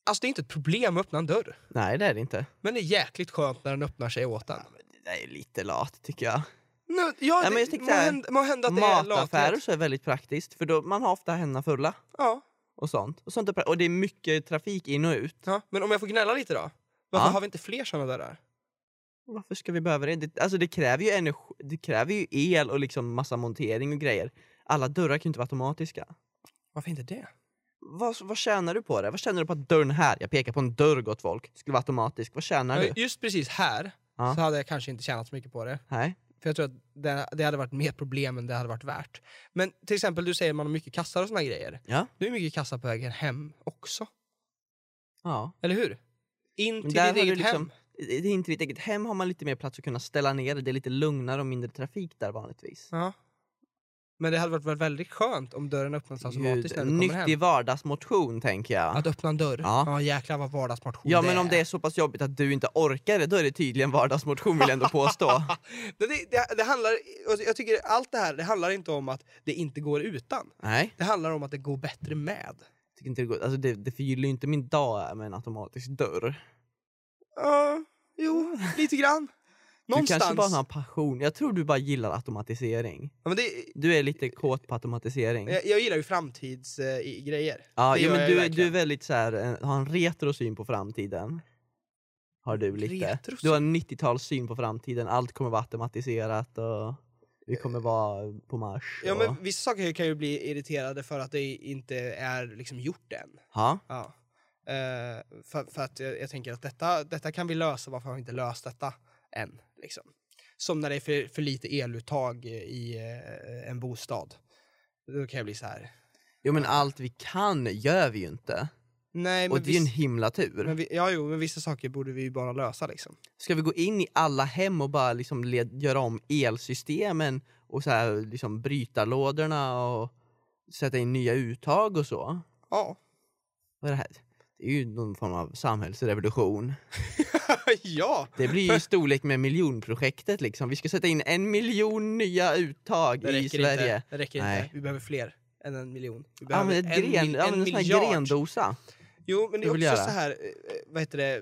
Speaker 1: Alltså det är inte ett problem att öppna en dörr,
Speaker 2: Nej, det är det inte.
Speaker 1: men det är jäkligt skönt när den öppnar sig åt en.
Speaker 2: Det där är lite lat tycker jag.
Speaker 1: Nej, ja,
Speaker 2: men jag
Speaker 1: det,
Speaker 2: tänkte
Speaker 1: må,
Speaker 2: så här,
Speaker 1: hända, må hända att det är
Speaker 2: Mataffärer
Speaker 1: lathet.
Speaker 2: så är väldigt praktiskt för då, man har ofta händerna fulla
Speaker 1: Ja,
Speaker 2: och sånt. Och, sånt är pra- och det är mycket trafik in och ut.
Speaker 1: ja. Men om jag får gnälla lite då? Varför
Speaker 2: Ja.
Speaker 1: har vi inte fler sådana dörrar?
Speaker 2: Varför ska vi behöva det? det? Alltså det kräver ju energi, det kräver ju el och liksom massa montering och grejer. Alla dörrar kan ju inte vara automatiska.
Speaker 1: Varför inte det?
Speaker 2: Vad, vad tjänar du på det? Vad tjänar du på att dörren här, jag pekar på en dörr gott folk, skulle vara automatisk? Vad tjänar du?
Speaker 1: Ja, Just precis här
Speaker 2: Ja.
Speaker 1: så hade jag kanske inte tjänat så mycket på det.
Speaker 2: Nej.
Speaker 1: För jag tror att det, det hade varit mer problem än det hade varit värt. Men till exempel, du säger att man har mycket kassar och såna grejer.
Speaker 2: Ja.
Speaker 1: Nu är mycket kassar på vägen hem också.
Speaker 2: Ja.
Speaker 1: Eller hur? In
Speaker 2: Men
Speaker 1: till
Speaker 2: där
Speaker 1: ditt
Speaker 2: har du
Speaker 1: eget
Speaker 2: liksom,
Speaker 1: hem.
Speaker 2: det är inte ditt eget hem har man lite mer plats att kunna ställa ner det. Det är lite lugnare och mindre trafik där vanligtvis.
Speaker 1: Ja. Men det hade varit väl väldigt skönt om dörren öppnas Alltså automatiskt när
Speaker 2: Gud,
Speaker 1: du kommer
Speaker 2: nyttig
Speaker 1: hem.
Speaker 2: vardagsmotion tänker jag.
Speaker 1: Att öppna en dörr.
Speaker 2: Ja.
Speaker 1: Ja, jäklar vad vardagsmotion
Speaker 2: Ja men om det är så pass jobbigt att du inte orkar det, då är det tydligen vardagsmotion vill jag ändå påstå.
Speaker 1: Det, det, det, det handlar, och jag tycker allt det här, det handlar inte om att det inte går utan.
Speaker 2: Nej,
Speaker 1: Det handlar om att det går bättre med.
Speaker 2: jag tycker inte det, går. Alltså, det, det förgyller ju inte min dag äh, med en automatisk dörr.
Speaker 1: Ja, jo, lite grann.
Speaker 2: Du kanske
Speaker 1: Någonstans.
Speaker 2: bara har en passion, jag tror du bara gillar automatisering.
Speaker 1: ja, men det,
Speaker 2: Du är lite kåt på automatisering.
Speaker 1: Jag, jag gillar ju eh, framtidsgrejer.
Speaker 2: Ja,
Speaker 1: det
Speaker 2: jo,
Speaker 1: gör
Speaker 2: men
Speaker 1: jag ju
Speaker 2: du, är- du är
Speaker 1: verkligen.
Speaker 2: väldigt så här, eh, har en retro syn på framtiden. Har du lite.
Speaker 1: Retrosyn?
Speaker 2: Du har en 90-talssyn på framtiden, allt kommer vara automatiserat och Vi kommer vara på Mars.
Speaker 1: Ja,
Speaker 2: och-
Speaker 1: men vissa saker kan ju bli irriterade för att det inte är liksom gjort än.
Speaker 2: ja.
Speaker 1: Ja. Eh, för, för att jag, jag tänker att detta, detta kan vi lösa, varför har vi inte löst detta än? Liksom. Som när det är för, för lite eluttag i eh, en bostad. Då kan jag bli så här.
Speaker 2: Jo men allt vi kan gör vi ju inte.
Speaker 1: Nej,
Speaker 2: Och
Speaker 1: men,
Speaker 2: det är ju en
Speaker 1: viss,
Speaker 2: himla tur.
Speaker 1: men, vi, ja, jo, men vissa saker borde vi ju bara lösa. Liksom.
Speaker 2: Ska vi gå in i alla hem och bara liksom led, göra om elsystemen och så här, liksom bryta lådorna och sätta in nya uttag och så?
Speaker 1: Ja.
Speaker 2: Vad är det här? Det är ju någon form av samhällsrevolution.
Speaker 1: ja.
Speaker 2: Det blir ju i storlek med miljonprojektet liksom. Vi ska sätta in en miljon nya uttag
Speaker 1: Det
Speaker 2: i
Speaker 1: räcker
Speaker 2: Sverige.
Speaker 1: inte. Det räcker
Speaker 2: Nej.
Speaker 1: inte. Vi behöver fler än en miljon. Vi behöver
Speaker 2: Använd ett gren,
Speaker 1: mil-
Speaker 2: använd en sån här grendosa.
Speaker 1: Jo, men det är
Speaker 2: Du vill
Speaker 1: också
Speaker 2: göra.
Speaker 1: så här, eh, vad heter det,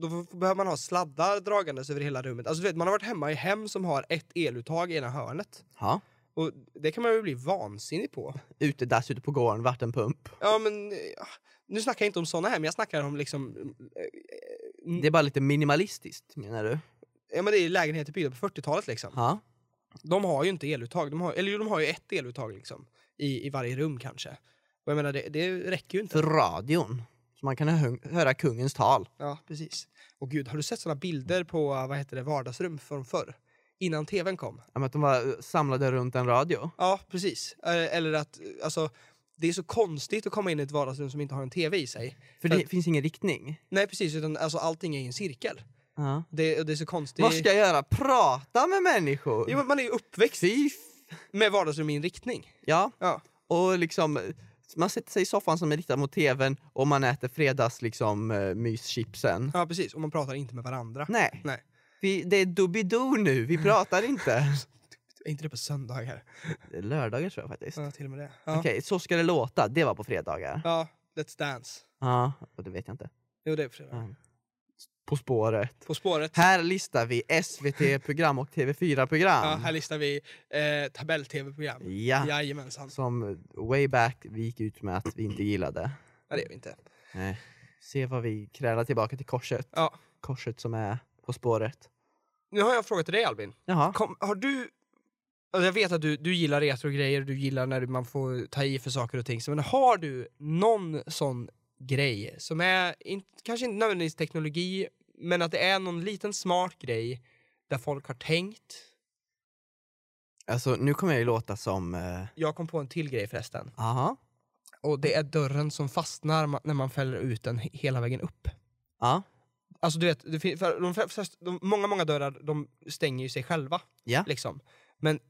Speaker 1: då f- behöver man ha sladdar dragandes över hela rummet. Alltså du vet, man har varit hemma i hem som har ett eluttag i ena hörnet.
Speaker 2: Ja.
Speaker 1: Och det kan man ju bli vansinnig på.
Speaker 2: Utedass ute på gården, vattenpump.
Speaker 1: Ja, men eh, nu snackar jag inte om såna hem, jag snackar om liksom, eh, Mm.
Speaker 2: Det är bara lite minimalistiskt menar du?
Speaker 1: ja men det är lägenheter byggda på 40-talet liksom.
Speaker 2: Ja.
Speaker 1: De har ju inte eluttag, de har, eller jo, de har ju ett eluttag liksom. I, i varje rum kanske. Och jag menar, det, det räcker ju inte.
Speaker 2: För radion. Så man kan hö- höra kungens tal.
Speaker 1: Ja, precis. Och gud, har du sett såna bilder på, eh, vad heter det, vardagsrum från förr? Innan tvn kom.
Speaker 2: Ja, men Att de var samlade runt en radio.
Speaker 1: Ja, precis. Eh, Eller att, eh, alltså, det är så konstigt att komma in i ett vardagsrum som inte har en tv i sig.
Speaker 2: För
Speaker 1: För
Speaker 2: det finns ingen riktning.
Speaker 1: Nej, precis. Utan, alltså, allting är i en cirkel.
Speaker 2: Ja.
Speaker 1: Det, och det är så konstigt.
Speaker 2: Vad ska jag göra? Prata med människor?
Speaker 1: jo, men man är ju uppväxt
Speaker 2: Fy f-
Speaker 1: med vardagsrum i en riktning.
Speaker 2: Ja,
Speaker 1: Ja,
Speaker 2: och liksom man sätter sig i soffan som är riktad mot tvn och man äter fredags liksom eh, myschipsen.
Speaker 1: ja precis. Och man pratar inte med varandra.
Speaker 2: Nej.
Speaker 1: Nej.
Speaker 2: Vi, det är Doobidoo nu, vi pratar inte.
Speaker 1: Är inte det på söndagar?
Speaker 2: Det är lördagar tror jag faktiskt.
Speaker 1: Ja, till och med det. Ja,
Speaker 2: Okej, så ska det låta. Det var på fredagar.
Speaker 1: ja Let's Dance.
Speaker 2: Ja, och det vet jag inte.
Speaker 1: Jo, det är på fredag.
Speaker 2: Ja. På spåret.
Speaker 1: På spåret.
Speaker 2: Mm. Här listar vi SVT-program och TV4-program.
Speaker 1: Ja, här listar vi eh, tabell-tv-program.
Speaker 2: Ja.
Speaker 1: Jajamensan.
Speaker 2: Som way back vi gick ut med att vi inte gillade.
Speaker 1: Ja, det gör vi inte.
Speaker 2: Nej. Se vad vi krälar tillbaka till korset.
Speaker 1: Ja.
Speaker 2: Korset som är På spåret.
Speaker 1: Nu har jag en fråga till dig, Albin.
Speaker 2: Jaha.
Speaker 1: Kom, har du... Alltså jag vet att du, du gillar retrogrejer, du gillar när man får ta i för saker och ting. så- Men har du någon sån grej som är, inte, kanske inte nödvändigtvis teknologi, men att det är någon liten smart grej där folk har tänkt.
Speaker 2: Alltså nu kommer jag ju låta som... eh,
Speaker 1: Jag kom på en till grej förresten.
Speaker 2: Jaha.
Speaker 1: Och det är dörren som fastnar ma- när man fäller ut den he- hela vägen upp.
Speaker 2: Ja.
Speaker 1: Alltså du vet, det fin- för de, flest- de, många, många dörrar de stänger ju sig själva.
Speaker 2: Ja.
Speaker 1: Liksom. Men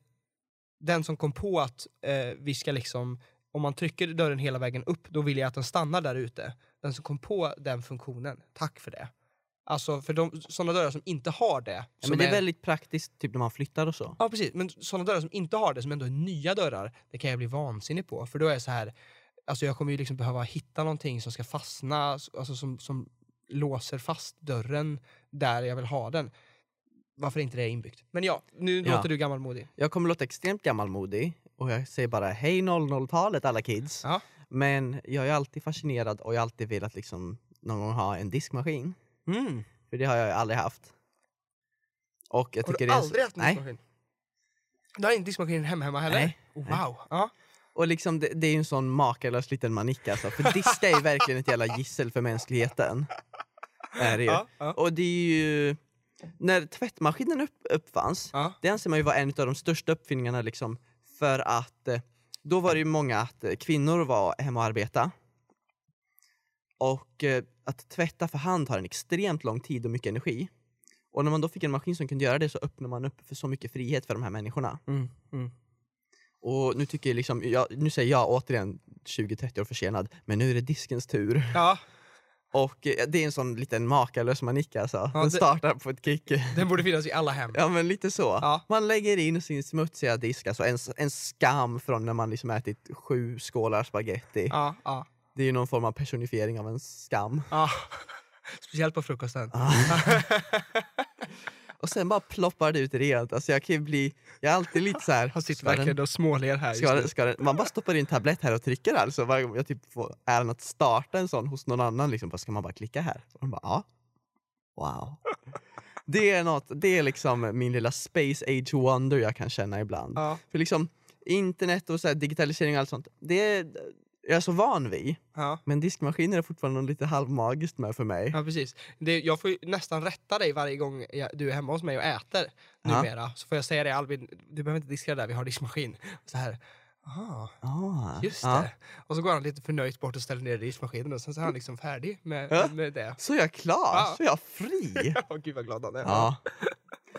Speaker 1: den som kom på att eh, vi ska liksom, om man trycker dörren hela vägen upp, då vill jag att den stannar där ute. Den som kom på den funktionen, tack för det. Alltså för de, sådana dörrar som inte har det.
Speaker 2: ja
Speaker 1: som
Speaker 2: men det är
Speaker 1: är-
Speaker 2: väldigt praktiskt typ när man flyttar och så.
Speaker 1: Ja precis, men sådana dörrar som inte har det, som ändå är nya dörrar, det kan jag bli vansinnig på. För då är jag så här, alltså jag kommer ju liksom behöva hitta någonting som ska fastna, alltså som, som låser fast dörren där jag vill ha den. Varför inte det är inbyggt? Men ja, nu
Speaker 2: Ja.
Speaker 1: låter du gammalmodig.
Speaker 2: Jag kommer låta extremt gammalmodig och jag säger bara hej 00-talet alla kids.
Speaker 1: Ja.
Speaker 2: Men jag är alltid fascinerad och jag har alltid velat liksom någon gång ha en diskmaskin.
Speaker 1: Mm.
Speaker 2: För det har jag ju aldrig haft. Och jag
Speaker 1: Har
Speaker 2: tycker
Speaker 1: du
Speaker 2: det är
Speaker 1: aldrig haft en
Speaker 2: Nej.
Speaker 1: diskmaskin? Du har inte diskmaskin hemma, hemma heller?
Speaker 2: Nej.
Speaker 1: Oh,
Speaker 2: Nej.
Speaker 1: wow. Ja.
Speaker 2: Och liksom det, det är ju en sån makalös liten manick alltså. För diska är ju verkligen ett jävla gissel för mänskligheten. Är det ju.
Speaker 1: Ja, ja.
Speaker 2: Och det är ju... När tvättmaskinen upp, uppfanns,
Speaker 1: Ja.
Speaker 2: det anser man ju vara en av de största uppfinningarna liksom. För att eh, då var det ju många att eh, kvinnor var hemma och arbeta. Och eh, att tvätta för hand tar en extremt lång tid och mycket energi. Och när man då fick en maskin som kunde göra det så öppnade man upp för så mycket frihet för de här människorna.
Speaker 1: Mm, mm.
Speaker 2: Och nu tycker jag liksom, jag, nu säger jag återigen 20-30 år försenad, men nu är det diskens tur.
Speaker 1: ja,
Speaker 2: Och eh, det är en sån liten makalös manick alltså.
Speaker 1: Ja,
Speaker 2: Den
Speaker 1: det-
Speaker 2: startar på ett kick.
Speaker 1: den borde finnas i alla hem.
Speaker 2: Ja men lite så.
Speaker 1: Ja.
Speaker 2: Man lägger in sin smutsiga disk, alltså en, en skam från när man liksom ätit sju skålar spaghetti.
Speaker 1: Ja, ja,
Speaker 2: Det är ju någon form av personifiering av en skam.
Speaker 1: ja. Speciellt på frukosten.
Speaker 2: Och sen bara ploppar det ut rent. Alltså jag kan ju bli, jag är alltid lite så här.
Speaker 1: Han sitter
Speaker 2: ska den-
Speaker 1: verkligen och småler här
Speaker 2: Ska
Speaker 1: just
Speaker 2: den,
Speaker 1: nu.
Speaker 2: ska den, man bara stoppar in en tablett här och trycker alltså. Varje gång jag typ får äran att starta en sån hos någon annan, liksom, bara, ska man bara klicka här? Och de bara, ja. Wow. Det är, något, det är liksom min lilla space age wonder jag kan känna ibland.
Speaker 1: Ja.
Speaker 2: För liksom internet och så här, digitalisering och allt sånt, det är jag är så van vid.
Speaker 1: Ja.
Speaker 2: Men diskmaskiner är fortfarande något lite halvmagiskt med för mig.
Speaker 1: Ja, precis. Det, jag får ju nästan rätta dig varje gång jag, du är hemma hos mig och äter
Speaker 2: Ja.
Speaker 1: numera. Så får jag säga det Albin, du behöver inte diska det där, vi har diskmaskin. Så här, ah,
Speaker 2: Ah,
Speaker 1: just
Speaker 2: ja.
Speaker 1: det. Och så går han lite förnöjt bort och ställer ner det i diskmaskinen och sen så är han liksom färdig med,
Speaker 2: Ja.
Speaker 1: med det.
Speaker 2: Så är jag klar,
Speaker 1: Ja.
Speaker 2: så är jag fri.
Speaker 1: Åh, Gud vad glad han är.
Speaker 2: ja.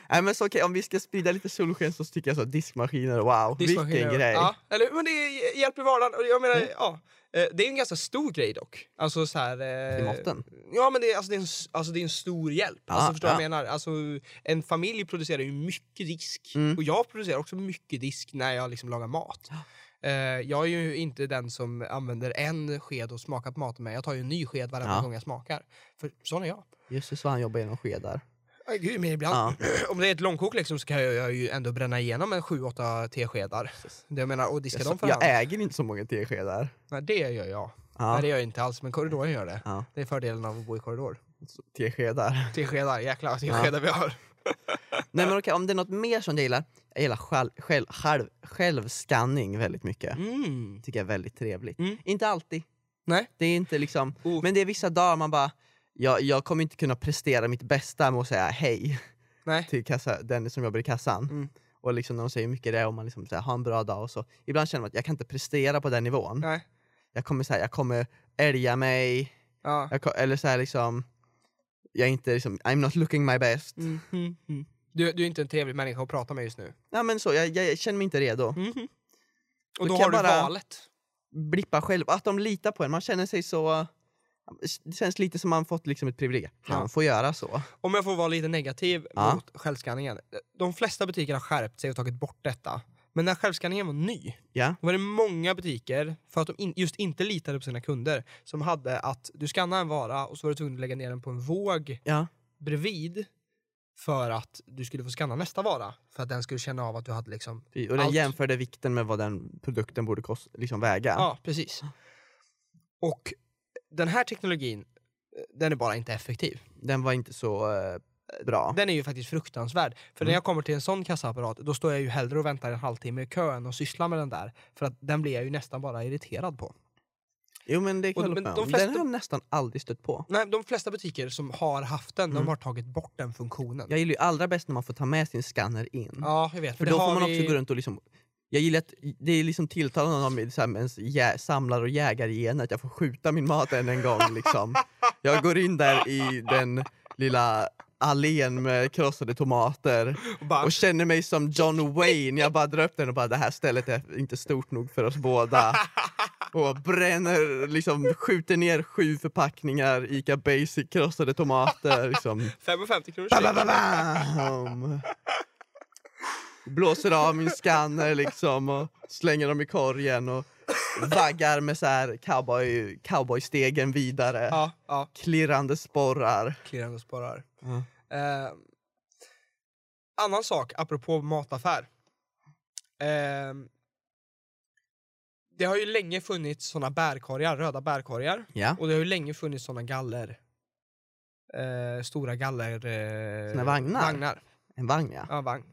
Speaker 2: Nej, men så, okej, om vi ska sprida lite solsken så tycker jag så att diskmaskiner, wow,
Speaker 1: Diskmaskiner,
Speaker 2: vilken grej. Mm.
Speaker 1: Ja, eller, men det är- hjälper i vardagen. Och jag menar, ja, eh, det är en ganska stor grej dock. Alltså så här... eh,
Speaker 2: Klimaten.
Speaker 1: Ja, men det är, alltså, det är, en, s- alltså, det är en stor hjälp.
Speaker 2: Ja,
Speaker 1: alltså, förstår du vad
Speaker 2: Ah, ja.
Speaker 1: jag menar? Alltså, en familj producerar ju mycket disk.
Speaker 2: Mm.
Speaker 1: Och jag producerar också mycket disk när jag liksom lagar mat.
Speaker 2: Ah.
Speaker 1: Eh, jag är ju inte den som använder en sked och smakar på maten med. Jag tar ju en ny sked varenda
Speaker 2: Ja.
Speaker 1: gång jag smakar. För sån är jag.
Speaker 2: Jösses vad han jobbar genom skedar.
Speaker 1: Aj, gud, men ibland.
Speaker 2: Ja.
Speaker 1: Om det är ett långkok liksom, så kan jag, jag ju ändå bränna igenom en 7-8 teskedar. Det jag menar, och diska dem
Speaker 2: Jag, Ah.
Speaker 1: för hand.
Speaker 2: jag äger inte så många teskedar.
Speaker 1: Nej, det gör jag. Nej,
Speaker 2: Ja.
Speaker 1: det gör jag inte alls, men korridoren gör det.
Speaker 2: Ja.
Speaker 1: Det är fördelen av att bo i korridor.
Speaker 2: så- Teskedar.
Speaker 1: Teskedar, jäklar
Speaker 2: Ah.
Speaker 1: vad teskedar vi har.
Speaker 2: Nej men okej, om det är något mer som jag gillar. Jag gillar själv, själv, själv, självscanning väldigt mycket.
Speaker 1: Mm.
Speaker 2: Tycker jag är väldigt trevligt.
Speaker 1: Mm.
Speaker 2: Inte alltid.
Speaker 1: Nej.
Speaker 2: Det är inte liksom,
Speaker 1: Oh.
Speaker 2: men det är vissa dagar man bara, jag, jag kommer inte kunna prestera mitt bästa med att säga hej
Speaker 1: Nej.
Speaker 2: till kassa, den som jobbar i kassan.
Speaker 1: Mm.
Speaker 2: Och liksom när de säger hur mycket det är och man liksom säger ha en bra dag och så. Ibland känner man att jag kan inte prestera på den nivån.
Speaker 1: Nej.
Speaker 2: Jag kommer säga, jag kommer älga mig,
Speaker 1: Ja.
Speaker 2: jag, ko- eller så här liksom, jag är inte liksom, I'm not looking my best.
Speaker 1: Mm. Mm.
Speaker 2: Mm-hmm.
Speaker 1: Mm. Du, du är inte en trevlig människa att prata med just nu.
Speaker 2: Ja men så, jag, jag känner mig inte redo.
Speaker 1: Mhm. Och
Speaker 2: Mm-hmm. Då
Speaker 1: då
Speaker 2: kan
Speaker 1: har du
Speaker 2: jag bara-
Speaker 1: valet.
Speaker 2: blippa själv. Att de litar på en. Man känner sig så... Det känns lite som man fått liksom ett privilegium. Han
Speaker 1: Ja.
Speaker 2: får göra så.
Speaker 1: Om jag får vara lite negativ
Speaker 2: Ja.
Speaker 1: mot självskanningen. De flesta butiker har skärpt sig och tagit bort detta. Men när självskanningen var ny,
Speaker 2: Ja.
Speaker 1: Då var det många butiker, för att de in, just inte litade på sina kunder, som hade att du skannade en vara och så var du tvungen att lägga ner den på en våg
Speaker 2: Ja.
Speaker 1: bredvid för att du skulle få skanna nästa vara. För att den skulle känna av att du hade liksom...
Speaker 2: Fy, Och den
Speaker 1: Allt.
Speaker 2: jämförde vikten med vad den produkten borde kost, liksom väga.
Speaker 1: Ja, precis. Och den här teknologin, eh, den är bara inte effektiv.
Speaker 2: Den var inte så eh, bra.
Speaker 1: Den är ju faktiskt fruktansvärd. För
Speaker 2: Mm.
Speaker 1: när jag kommer till en sån kassaapparat, då står jag ju hellre och väntar en halvtimme i kön och sysslar med den där. För att den blir jag ju nästan bara irriterad på.
Speaker 2: Jo men det kan
Speaker 1: Och-
Speaker 2: jag hålla
Speaker 1: men
Speaker 2: med
Speaker 1: de
Speaker 2: om.
Speaker 1: flesta-
Speaker 2: Den har jag nästan aldrig stött på.
Speaker 1: Nej, de flesta butiker som har haft den,
Speaker 2: Mm.
Speaker 1: de har tagit bort den funktionen.
Speaker 2: Jag gillar ju allra bäst när man får ta med sin scanner in.
Speaker 1: Ja, jag vet.
Speaker 2: För
Speaker 1: det
Speaker 2: då
Speaker 1: har
Speaker 2: får man
Speaker 1: vi-
Speaker 2: också gå runt och liksom... Jag gillar att det är liksom tilltalande om så här, med ens jä- samlar och jägargen att jag får skjuta min mat än en gång. Liksom. Jag går in där i den lilla allén med krossade tomater
Speaker 1: och bara,
Speaker 2: och känner mig som John Wayne. Jag bara drar upp den och bara det här stället är inte stort nog för oss båda. Och bränner, liksom skjuter ner sju förpackningar Ica Basic krossade tomater. Liksom.
Speaker 1: 55 kronor
Speaker 2: Ba, ba, ba, bam! Blåser av min scanner liksom och slänger dem i korgen och vaggar med så här cowboy, cowboystegen vidare.
Speaker 1: Ja, ja.
Speaker 2: Klirrande sporrar.
Speaker 1: Klirrar och sparar.
Speaker 2: Ja.
Speaker 1: Eh, annan sak, apropå mataffär. Eh, det har ju länge funnits såna bärkorgar, röda bärkorgar.
Speaker 2: Ja.
Speaker 1: Och det har ju länge funnits såna galler. Eh, stora galler... Eh,
Speaker 2: Såna vagnar?
Speaker 1: Vagnar.
Speaker 2: En vagn ja.
Speaker 1: Ja, vagn.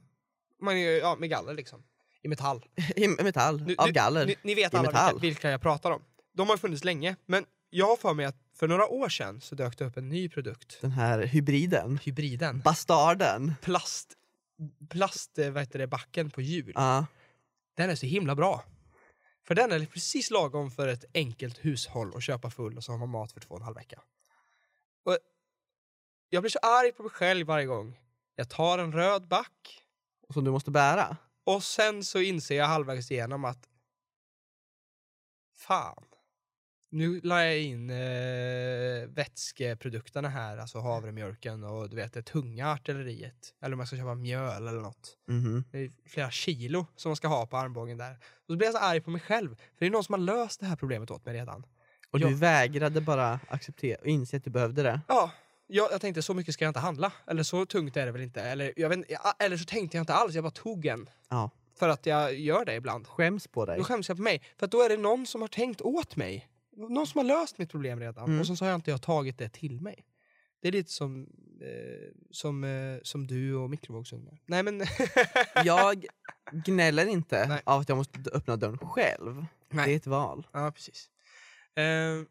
Speaker 1: Man, är ju- ja, med galler liksom. I metall.
Speaker 2: I metall,
Speaker 1: Nu-
Speaker 2: av
Speaker 1: nu-
Speaker 2: galler.
Speaker 1: Ni, ni vet
Speaker 2: I
Speaker 1: alla vilka,
Speaker 2: metall.
Speaker 1: vilka jag pratar om. De har funnits länge, men jag har för mig att för några år sedan så dök det upp en ny produkt.
Speaker 2: Den här hybriden.
Speaker 1: Hybriden.
Speaker 2: Bastarden.
Speaker 1: Plast, plast eh, vad heter det, backen på hjul.
Speaker 2: Ja.
Speaker 1: Den är så himla bra. För den är precis lagom för ett enkelt hushåll att köpa full och så har man mat för två och en halv vecka. Och jag blir så arg på mig själv varje gång. Jag tar en röd back
Speaker 2: Som du måste bära.
Speaker 1: och sen så inser jag halvvägs igenom att fan, nu la jag in eh, vätskeprodukterna här, alltså havremjölken och du vet det tunga artilleriet. Eller om jag ska köpa mjöl eller något.
Speaker 2: Mhm.
Speaker 1: Det är flera kilo som man ska ha på armbågen där. Och så blir jag så arg på mig själv, för det är någon som har löst det här problemet åt mig redan.
Speaker 2: Och
Speaker 1: Ja.
Speaker 2: du vägrade bara acceptera och inse att du behövde det.
Speaker 1: Ja, jag, jag tänkte så mycket ska jag inte handla. Eller så tungt är det väl inte. Eller, jag vet, inte- ja, eller så tänkte jag inte alls, jag bara tog en.
Speaker 2: Ja.
Speaker 1: För att jag gör det ibland.
Speaker 2: Skäms på dig.
Speaker 1: Då skäms jag på mig. För att då är det någon som har tänkt åt mig. Någon som har löst mitt problem redan.
Speaker 2: Mm.
Speaker 1: Och sen så har jag inte jag tagit det till mig. Det är lite som eh, som, eh, som du och mikrovågsugnar. Nej men...
Speaker 2: Jag gnäller inte
Speaker 1: Nej.
Speaker 2: av att jag måste öppna dörren själv.
Speaker 1: Nej.
Speaker 2: Det är ett val.
Speaker 1: ja, precis. Eh,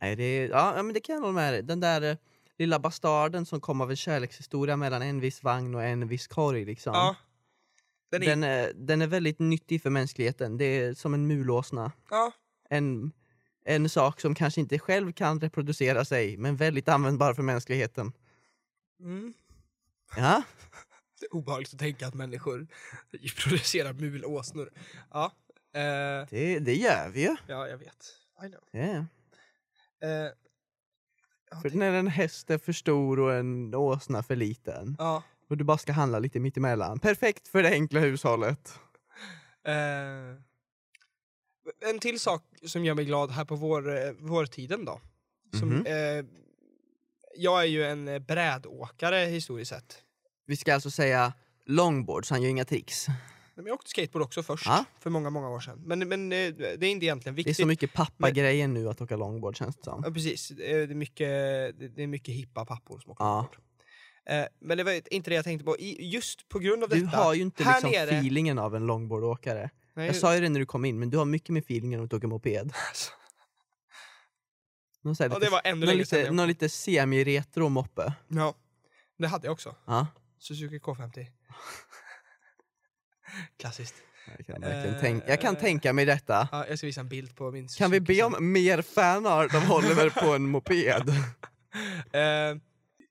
Speaker 2: Nej, det, är, ja, ja, men det kan jag hålla med dig. Den där eh, lilla bastarden som kom av en kärlekshistoria mellan en viss vagn och en viss korg. Liksom.
Speaker 1: ja. Den är,
Speaker 2: Den, är, den är väldigt nyttig för mänskligheten. Det är som en mulåsna.
Speaker 1: Ja,
Speaker 2: En, en sak som kanske inte själv kan reproducera sig, men väldigt användbar för mänskligheten.
Speaker 1: mm.
Speaker 2: Ja,
Speaker 1: Det är obehagligt att tänka att människor producerar mulåsnor. Ja, eh,
Speaker 2: det, det gör vi ju.
Speaker 1: ja, jag vet. I know.
Speaker 2: Ja.
Speaker 1: Eh, ja,
Speaker 2: För
Speaker 1: tänk-
Speaker 2: när en häst är för stor och en åsna för liten
Speaker 1: ja,
Speaker 2: och du bara ska handla lite mittemellan. Perfekt för det enkla hushållet.
Speaker 1: Eh, en till sak som gör mig glad här på vår, eh, vårtiden då. Som,
Speaker 2: Mhm.
Speaker 1: eh, jag är ju en eh, brädåkare historiskt sett.
Speaker 2: Vi ska alltså säga longboard, så han gör inga tricks.
Speaker 1: Men jag åkte skateboard också först,
Speaker 2: Ja.
Speaker 1: för många, många år sedan. Men, men eh, det är inte egentligen
Speaker 2: Det är
Speaker 1: viktigt.
Speaker 2: så mycket pappagrejer nu att åka longboard känns det som.
Speaker 1: ja, precis. Eh, Det är mycket, det- det är mycket hippa pappor som åker
Speaker 2: Ja.
Speaker 1: skateboard. Eh, Men det var inte det jag tänkte på. I- Just på grund av
Speaker 2: Du
Speaker 1: detta.
Speaker 2: har ju inte
Speaker 1: här
Speaker 2: liksom
Speaker 1: nere-
Speaker 2: feelingen av en longboardåkare.
Speaker 1: Nej,
Speaker 2: Jag sa ju det när du kom in, men du har mycket mer feeling än att åka moped.
Speaker 1: alltså.
Speaker 2: Någon, så här
Speaker 1: ja,
Speaker 2: lite,
Speaker 1: det var ännu
Speaker 2: någon,
Speaker 1: länge sedan.
Speaker 2: lite,
Speaker 1: jag-
Speaker 2: någon lite semi-retro moppe.
Speaker 1: Ja, det hade jag också.
Speaker 2: Ja,
Speaker 1: Suzuki K50. Klassiskt.
Speaker 2: jag, kan verkligen
Speaker 1: Eh,
Speaker 2: tänka, jag kan
Speaker 1: eh.
Speaker 2: tänka mig detta.
Speaker 1: Ja, jag ska visa en bild på min
Speaker 2: Kan vi be
Speaker 1: Suzuki.
Speaker 2: om mer fanart av Oliver på en moped?
Speaker 1: Eh,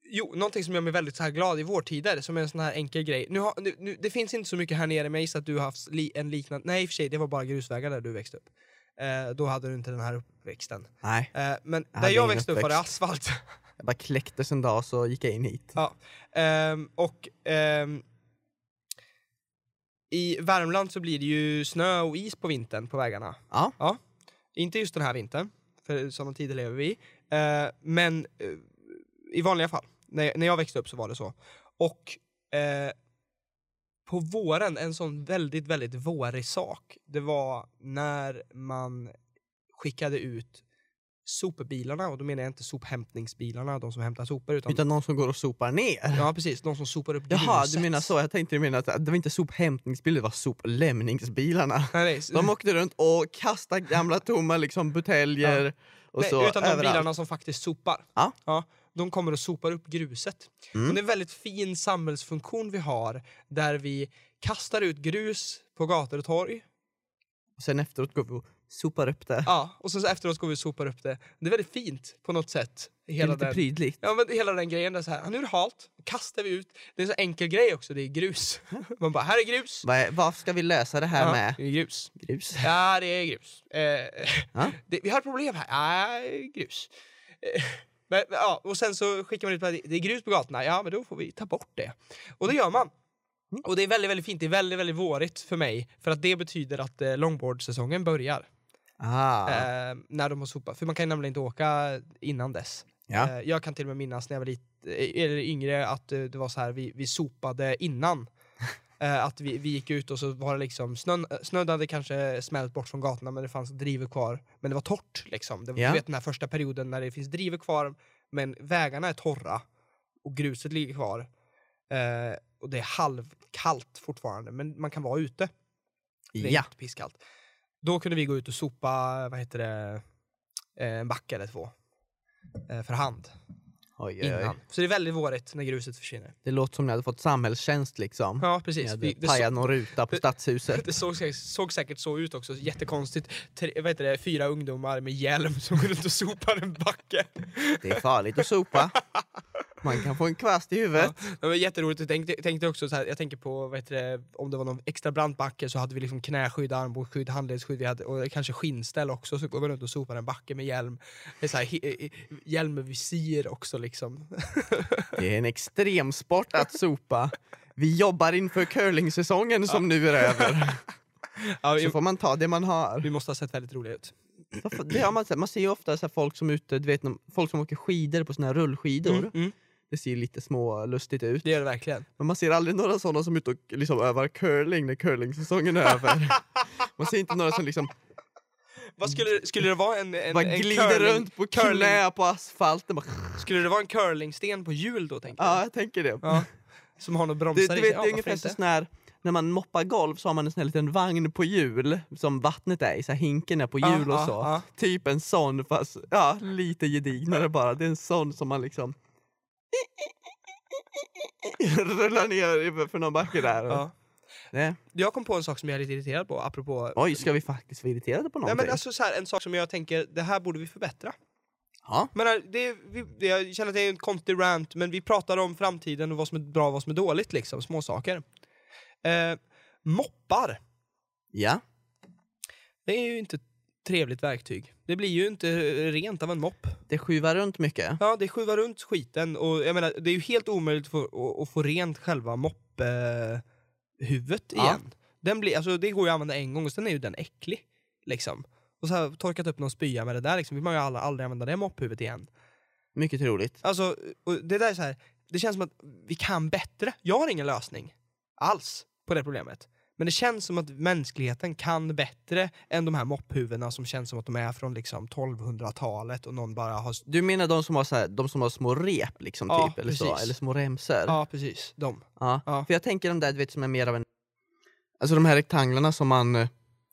Speaker 1: jo, någonting som gör mig väldigt så här glad i vårtider, som är en sån här enkel grej. Nu har, nu, nu, det finns inte så mycket här nere, men jag gissar att du har haft li, en liknande... Nej, i och för sig, det var bara grusvägar där du växte upp. Eh, då hade du inte den här uppväxten.
Speaker 2: Nej,
Speaker 1: Eh, men
Speaker 2: Jag
Speaker 1: där
Speaker 2: hade
Speaker 1: jag
Speaker 2: ingen
Speaker 1: växte upp var det
Speaker 2: uppväxt.
Speaker 1: asfalt.
Speaker 2: jag bara kläcktes en dag så gick jag in hit.
Speaker 1: Ja. Ehm, och ehm, i Värmland så blir det ju snö och is på vintern på vägarna.
Speaker 2: Ja.
Speaker 1: Inte just den här vintern, för sådana tider lever vi i. Eh, men eh, i vanliga fall, när, när jag växte upp så var det så. Och eh, på våren, en sån väldigt, väldigt vårig sak, det var när man skickade ut sopbilarna, och då menar jag inte sophämtningsbilarna, de som hämtar sopor, utan
Speaker 2: Utan någon som går och sopar ner.
Speaker 1: Ja precis, de som sopar upp
Speaker 2: Jaha,
Speaker 1: gruset.
Speaker 2: du menar så. Jag tänkte du menade att det var inte sophämtningsbilar, det var soplämningsbilarna.
Speaker 1: Nej, nej, s-
Speaker 2: De åkte runt och kastade gamla tomma liksom, buteljer och
Speaker 1: nej,
Speaker 2: så
Speaker 1: utan de
Speaker 2: överallt.
Speaker 1: bilarna som faktiskt sopar.
Speaker 2: Ja.
Speaker 1: de kommer och sopar upp gruset.
Speaker 2: Mm.
Speaker 1: Och det är en väldigt fin samhällsfunktion vi har där vi kastar ut grus på gator och torg.
Speaker 2: Och sen efteråt går vi och sopar upp det.
Speaker 1: Ja, och sen så efteråt går vi och sopar upp det. Det är väldigt fint på något sätt.
Speaker 2: det är
Speaker 1: Hela
Speaker 2: lite
Speaker 1: den,
Speaker 2: prydligt.
Speaker 1: ja, men hela den grejen. Där så här, "Ah, nu är det halt, då kastar vi ut. Det är en så enkel grej också, det är grus. Man bara, här är grus.
Speaker 2: Vad, är, vad ska vi lösa det här
Speaker 1: Ja,
Speaker 2: med?
Speaker 1: det är grus.
Speaker 2: Grus?
Speaker 1: Ja, det är grus. Eh,
Speaker 2: Ja.
Speaker 1: det, vi har ett problem här. Ja, grus. Eh, men, men, ja, och sen så skickar man ut att det är grus på gatorna. Ja, men då får vi ta bort det. Och det gör man.
Speaker 2: Mm.
Speaker 1: Och det är väldigt, väldigt fint. Det är väldigt, väldigt vårigt för mig. För att det betyder att eh, longboardsäsongen börjar.
Speaker 2: Ah,
Speaker 1: Eh, när de har sopat. För man kan nämligen inte åka innan dess.
Speaker 2: Ja.
Speaker 1: Eh, jag kan till och med minnas när jag var lite, eh, eller yngre att eh, det var så här, vi, vi sopade innan. Eh, att vi, vi gick ut och så var det liksom, snön, eh, snön hade kanske smält bort från gatorna men det fanns drivor kvar. Men det var torrt liksom. Det,
Speaker 2: Ja.
Speaker 1: Du vet den här första perioden när det finns drivor kvar men vägarna är torra och gruset ligger kvar. Eh, och det är halvkallt fortfarande men man kan vara ute. Det är
Speaker 2: ja.
Speaker 1: inte pisskallt. Då kunde vi gå ut och sopa vad heter det, eh, en backe eller två. eh, För hand.
Speaker 2: Oj, oj, oj.
Speaker 1: Innan. Så det är väldigt vårigt när gruset försvinner.
Speaker 2: Det låter som ni hade fått samhällstjänst liksom.
Speaker 1: Ja,
Speaker 2: Ni
Speaker 1: precis.
Speaker 2: hade
Speaker 1: Vi, det,
Speaker 2: pajat någon ruta på
Speaker 1: det-
Speaker 2: stadshuset.
Speaker 1: så, det såg, säkert- såg säkert så ut också. Jättekonstigt. Tre, vad heter det, fyra ungdomar med hjälm som går runt och sopar en backe.
Speaker 2: Det är farligt att sopa. Man kan få en kvast i huvudet.
Speaker 1: Det var jätteroligt. Jag tänkte, tänkte också så här, jag tänker på vad heter det, om det var någon extra brant backe så hade vi liksom knäskydd, armbågsskydd, handledsskydd vi hade, och kanske skinnställ också. Så går vi runt och sopar en backe med hjälm. Det är Så här, he- eh, hjälm med visir också liksom.
Speaker 2: Det är en extremsport att sopa. Vi jobbar inför curlingsäsongen som nu är över.
Speaker 1: Ja,
Speaker 2: Så
Speaker 1: vi,
Speaker 2: får man ta det man har.
Speaker 1: vi måste ha sett väldigt roliga ut.
Speaker 2: Varför- Det har man, sett. man ser ju ofta så här folk som är ute, du vet, när- folk som åker skidor på såna här rullskidor.
Speaker 1: Mm, mm,
Speaker 2: Det ser ju lite små lustigt ut.
Speaker 1: det gör det verkligen.
Speaker 2: Men man ser aldrig några sådana som är ute och liksom övar curling när curlingsäsongen är över. Man ser inte några som liksom
Speaker 1: Vad skulle, skulle det vara en, en,
Speaker 2: Bara
Speaker 1: en
Speaker 2: glider
Speaker 1: curling-
Speaker 2: runt på
Speaker 1: curling-
Speaker 2: knä på asfalten. Bara,
Speaker 1: Skulle det vara en curlingsten på hjul då tänker
Speaker 2: ja, jag tänker det.
Speaker 1: jag? Ja. Som har någon
Speaker 2: Du,
Speaker 1: bromsar
Speaker 2: du
Speaker 1: i sig?
Speaker 2: vet, det är
Speaker 1: ja, varför
Speaker 2: ungefär
Speaker 1: inte?
Speaker 2: så sån här, när man moppar golv så har man en sån här liten vagn på hjul som vattnet är i, så här hinken är på
Speaker 1: Ja,
Speaker 2: hjul och
Speaker 1: ja,
Speaker 2: så.
Speaker 1: ja.
Speaker 2: Typ en sån fast ja, lite gedignare bara. Det är en sån som man liksom rullar ner för någon backe där.
Speaker 1: Ja.
Speaker 2: Nej.
Speaker 1: Jag kom på en sak som jag är lite irriterad på apropå...
Speaker 2: Oj, ska vi faktiskt vara irriterade på
Speaker 1: Nej,
Speaker 2: någonting?
Speaker 1: men alltså, så här, en sak som jag tänker, det här borde vi förbättra.
Speaker 2: ja.
Speaker 1: Men eh, det, är- vi, det, jag känner att det är en konstig rant, men vi pratar om framtiden och vad som är bra och vad som är dåligt, liksom. Små saker. Eh, moppar,
Speaker 2: ja,
Speaker 1: det är ju inte ett trevligt verktyg. Det blir ju inte eh, rent av en mopp.
Speaker 2: det sjuvar runt mycket.
Speaker 1: Ja, det skjuvar runt skiten och jag menar, det är ju helt omöjligt för, att, att få rent själva mopphuvudet eh, huvudet
Speaker 2: Ja.
Speaker 1: igen. Den blir, alltså, det går ju att använda en gång och sen är ju den äcklig. Liksom. Och så har jag torkat upp någon spya med det där, liksom. vill man ju aldrig, aldrig använda det mopphuvudet igen.
Speaker 2: Mycket troligt.
Speaker 1: Alltså, och det där är så här, det känns som att vi kan bättre. Jag har ingen lösning alls på det problemet. Men det känns som att mänskligheten kan bättre än de här mopphuvudena som känns som att de är från liksom 1200-talet och någon bara har...
Speaker 2: Du menar de som har, så här, de som har små rep liksom,
Speaker 1: Ja,
Speaker 2: typ, eller, så,
Speaker 1: precis.
Speaker 2: eller små remsor?
Speaker 1: Ja, precis. De.
Speaker 2: Ja.
Speaker 1: Ja.
Speaker 2: För jag tänker de där du vet, som är mer av en... Alltså de här rektanglarna som man eh,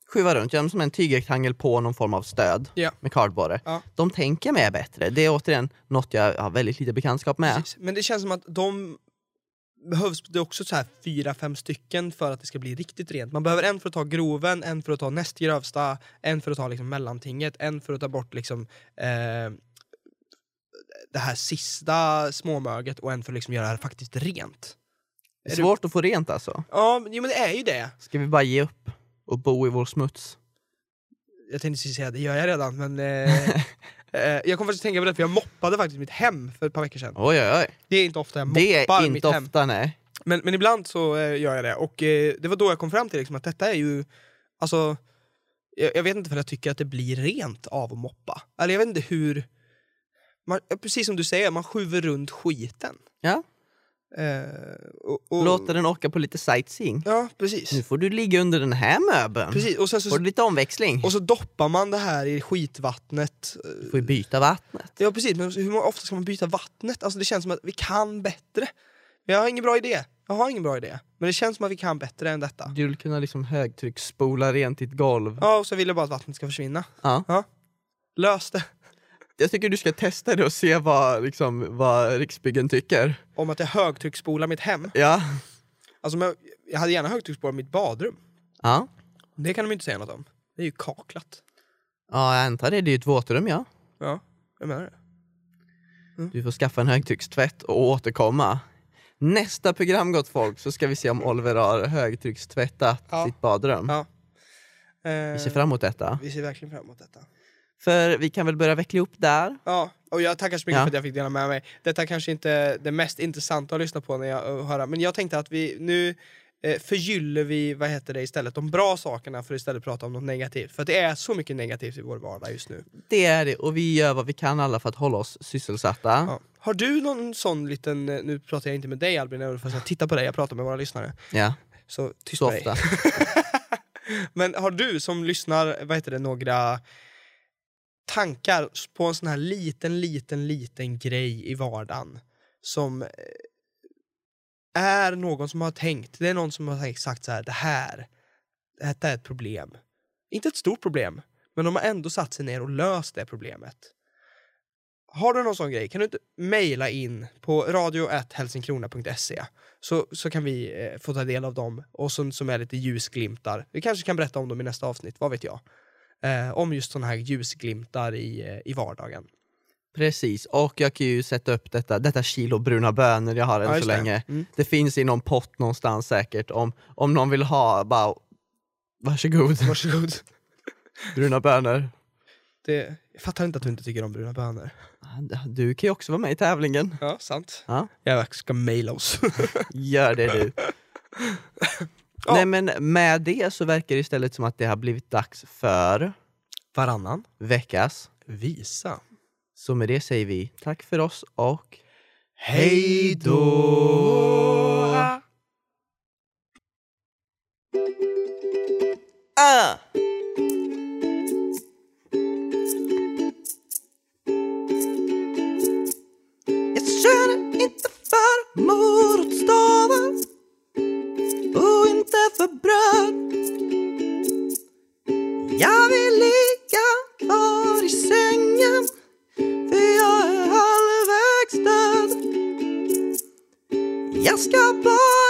Speaker 2: skruvar runt, ja, som en tygrektangel på någon form av stöd
Speaker 1: Ja.
Speaker 2: med kardborre.
Speaker 1: Ja.
Speaker 2: De tänker mig är bättre. Det är återigen något jag har väldigt lite bekantskap med.
Speaker 1: Precis. Men det känns som att de behövs det är också så här fyra, fem stycken för att det ska bli riktigt rent. Man behöver en för att ta groven, en för att ta näst grövsta, en för att ta liksom mellantinget, en för att ta bort liksom eh, det här sista småmöget och en för att liksom göra det faktiskt rent.
Speaker 2: Det
Speaker 1: Är
Speaker 2: är
Speaker 1: du-
Speaker 2: svårt att få rent alltså.
Speaker 1: Ja, men jo, men det är ju det.
Speaker 2: Ska vi bara ge upp och bo i vår smuts?
Speaker 1: Jag tänkte precis säga det gör jag redan, men eh, eh, jag kom faktiskt att tänka på det för jag moppade faktiskt mitt hem för ett par veckor sedan.
Speaker 2: Oj, oj, oj.
Speaker 1: Det är inte ofta jag moppar
Speaker 2: Det är
Speaker 1: mitt
Speaker 2: inte
Speaker 1: hem.
Speaker 2: ofta, nej.
Speaker 1: Men, men ibland så eh, gör jag det. Och eh, det var då jag kom fram till liksom, att detta är ju... Alltså, jag, jag vet inte för jag tycker att det blir rent av att moppa. Eller jag vet inte hur... Man, ja, precis som du säger, man skjuver runt skiten.
Speaker 2: Ja.
Speaker 1: Eh, och, och,
Speaker 2: Låter den åka på lite sightseeing.
Speaker 1: Ja, precis.
Speaker 2: Nu får du ligga under den här möbeln.
Speaker 1: precis. Och, sen så,
Speaker 2: Får du lite omväxling?
Speaker 1: och så doppar man det här i skitvattnet. Eh,
Speaker 2: Du får ju byta vattnet.
Speaker 1: Ja, precis. Men hur många- ofta ska man byta vattnet? Alltså, det känns som att vi kan bättre. Men jag har ingen bra idé. Jag har ingen bra idé. Men det känns som att vi kan bättre än detta.
Speaker 2: Du vill kunna liksom högtrycksspola rent ditt golv.
Speaker 1: Ja, och så vill jag bara att vattnet ska försvinna.
Speaker 2: Ja.
Speaker 1: Lös det.
Speaker 2: Jag tycker du ska testa det och se vad, liksom, vad Riksbyggen tycker.
Speaker 1: Om att jag högtrycksspolar mitt hem.
Speaker 2: Ja.
Speaker 1: Alltså, men jag hade gärna högtrycksspolat mitt badrum.
Speaker 2: Ja,
Speaker 1: Det kan de inte säga något om. Det är ju kaklat.
Speaker 2: ja jag antar det. Det är ju ett våtrum ja.
Speaker 1: Ja, jag menar det.
Speaker 2: Du får skaffa en högtryckstvätt och återkomma. Nästa program gott folk så ska vi se om Oliver har högtryckstvättat
Speaker 1: Ja.
Speaker 2: sitt badrum.
Speaker 1: Ja. Eh,
Speaker 2: Vi ser fram emot detta.
Speaker 1: vi ser verkligen fram emot detta.
Speaker 2: För vi kan väl börja veckla ihop där.
Speaker 1: Ja, och jag tackar så mycket
Speaker 2: Ja.
Speaker 1: för att jag fick dela med mig. Detta kanske inte är det mest intressanta att lyssna på när jag eh, hör, men jag tänkte att vi nu eh, förgyller vi, vad heter det, istället de bra sakerna för att istället prata om något negativt. För att det är så mycket negativt i vår vardag just nu.
Speaker 2: Det är det och vi gör vad vi kan alla för att hålla oss sysselsatta.
Speaker 1: Ja. Har du någon sån liten, eh, nu pratar jag inte med dig Albin, jag får säga, titta på dig, jag pratar med våra lyssnare.
Speaker 2: Ja,
Speaker 1: Så tyst
Speaker 2: så
Speaker 1: med dig.
Speaker 2: ofta.
Speaker 1: Men har du som lyssnar, vad heter det, några tankar på en sån här liten, liten, liten grej i vardagen som eh, är någon som har tänkt, det är någon som har tänkt, sagt så här, det här, detta är ett problem. Inte ett stort problem, men de har ändå satt sig ner och löst det problemet. Har du någon sån grej, kan du inte mejla in på radio.helsingkrona.se så, så kan vi eh, få ta del av dem och som, som är lite ljusglimtar. Vi kanske kan berätta om dem i nästa avsnitt, vad vet jag? Eh, om just sådana här ljusglimtar i, eh, i vardagen.
Speaker 2: Precis, och jag kan ju sätta upp detta, detta kilo bruna bönor jag har än
Speaker 1: Ja,
Speaker 2: så
Speaker 1: just det.
Speaker 2: länge.
Speaker 1: Mm.
Speaker 2: Det finns i någon pott någonstans säkert. Om, om någon vill ha, bara varsågod,
Speaker 1: Varsågod.
Speaker 2: bruna bönor.
Speaker 1: Det, jag fattar inte att du inte tycker om bruna bönor.
Speaker 2: Du kan ju också vara med i tävlingen.
Speaker 1: Ja, sant.
Speaker 2: Ja.
Speaker 1: Jag ska mejla oss.
Speaker 2: Gör det du.
Speaker 1: Ja.
Speaker 2: Nej men med det så verkar det istället som att det har blivit dags för
Speaker 1: Varannan
Speaker 2: veckas.
Speaker 1: visa.
Speaker 2: Så med det säger vi tack för oss och
Speaker 1: Hej då!
Speaker 2: Ah! Jag ska bara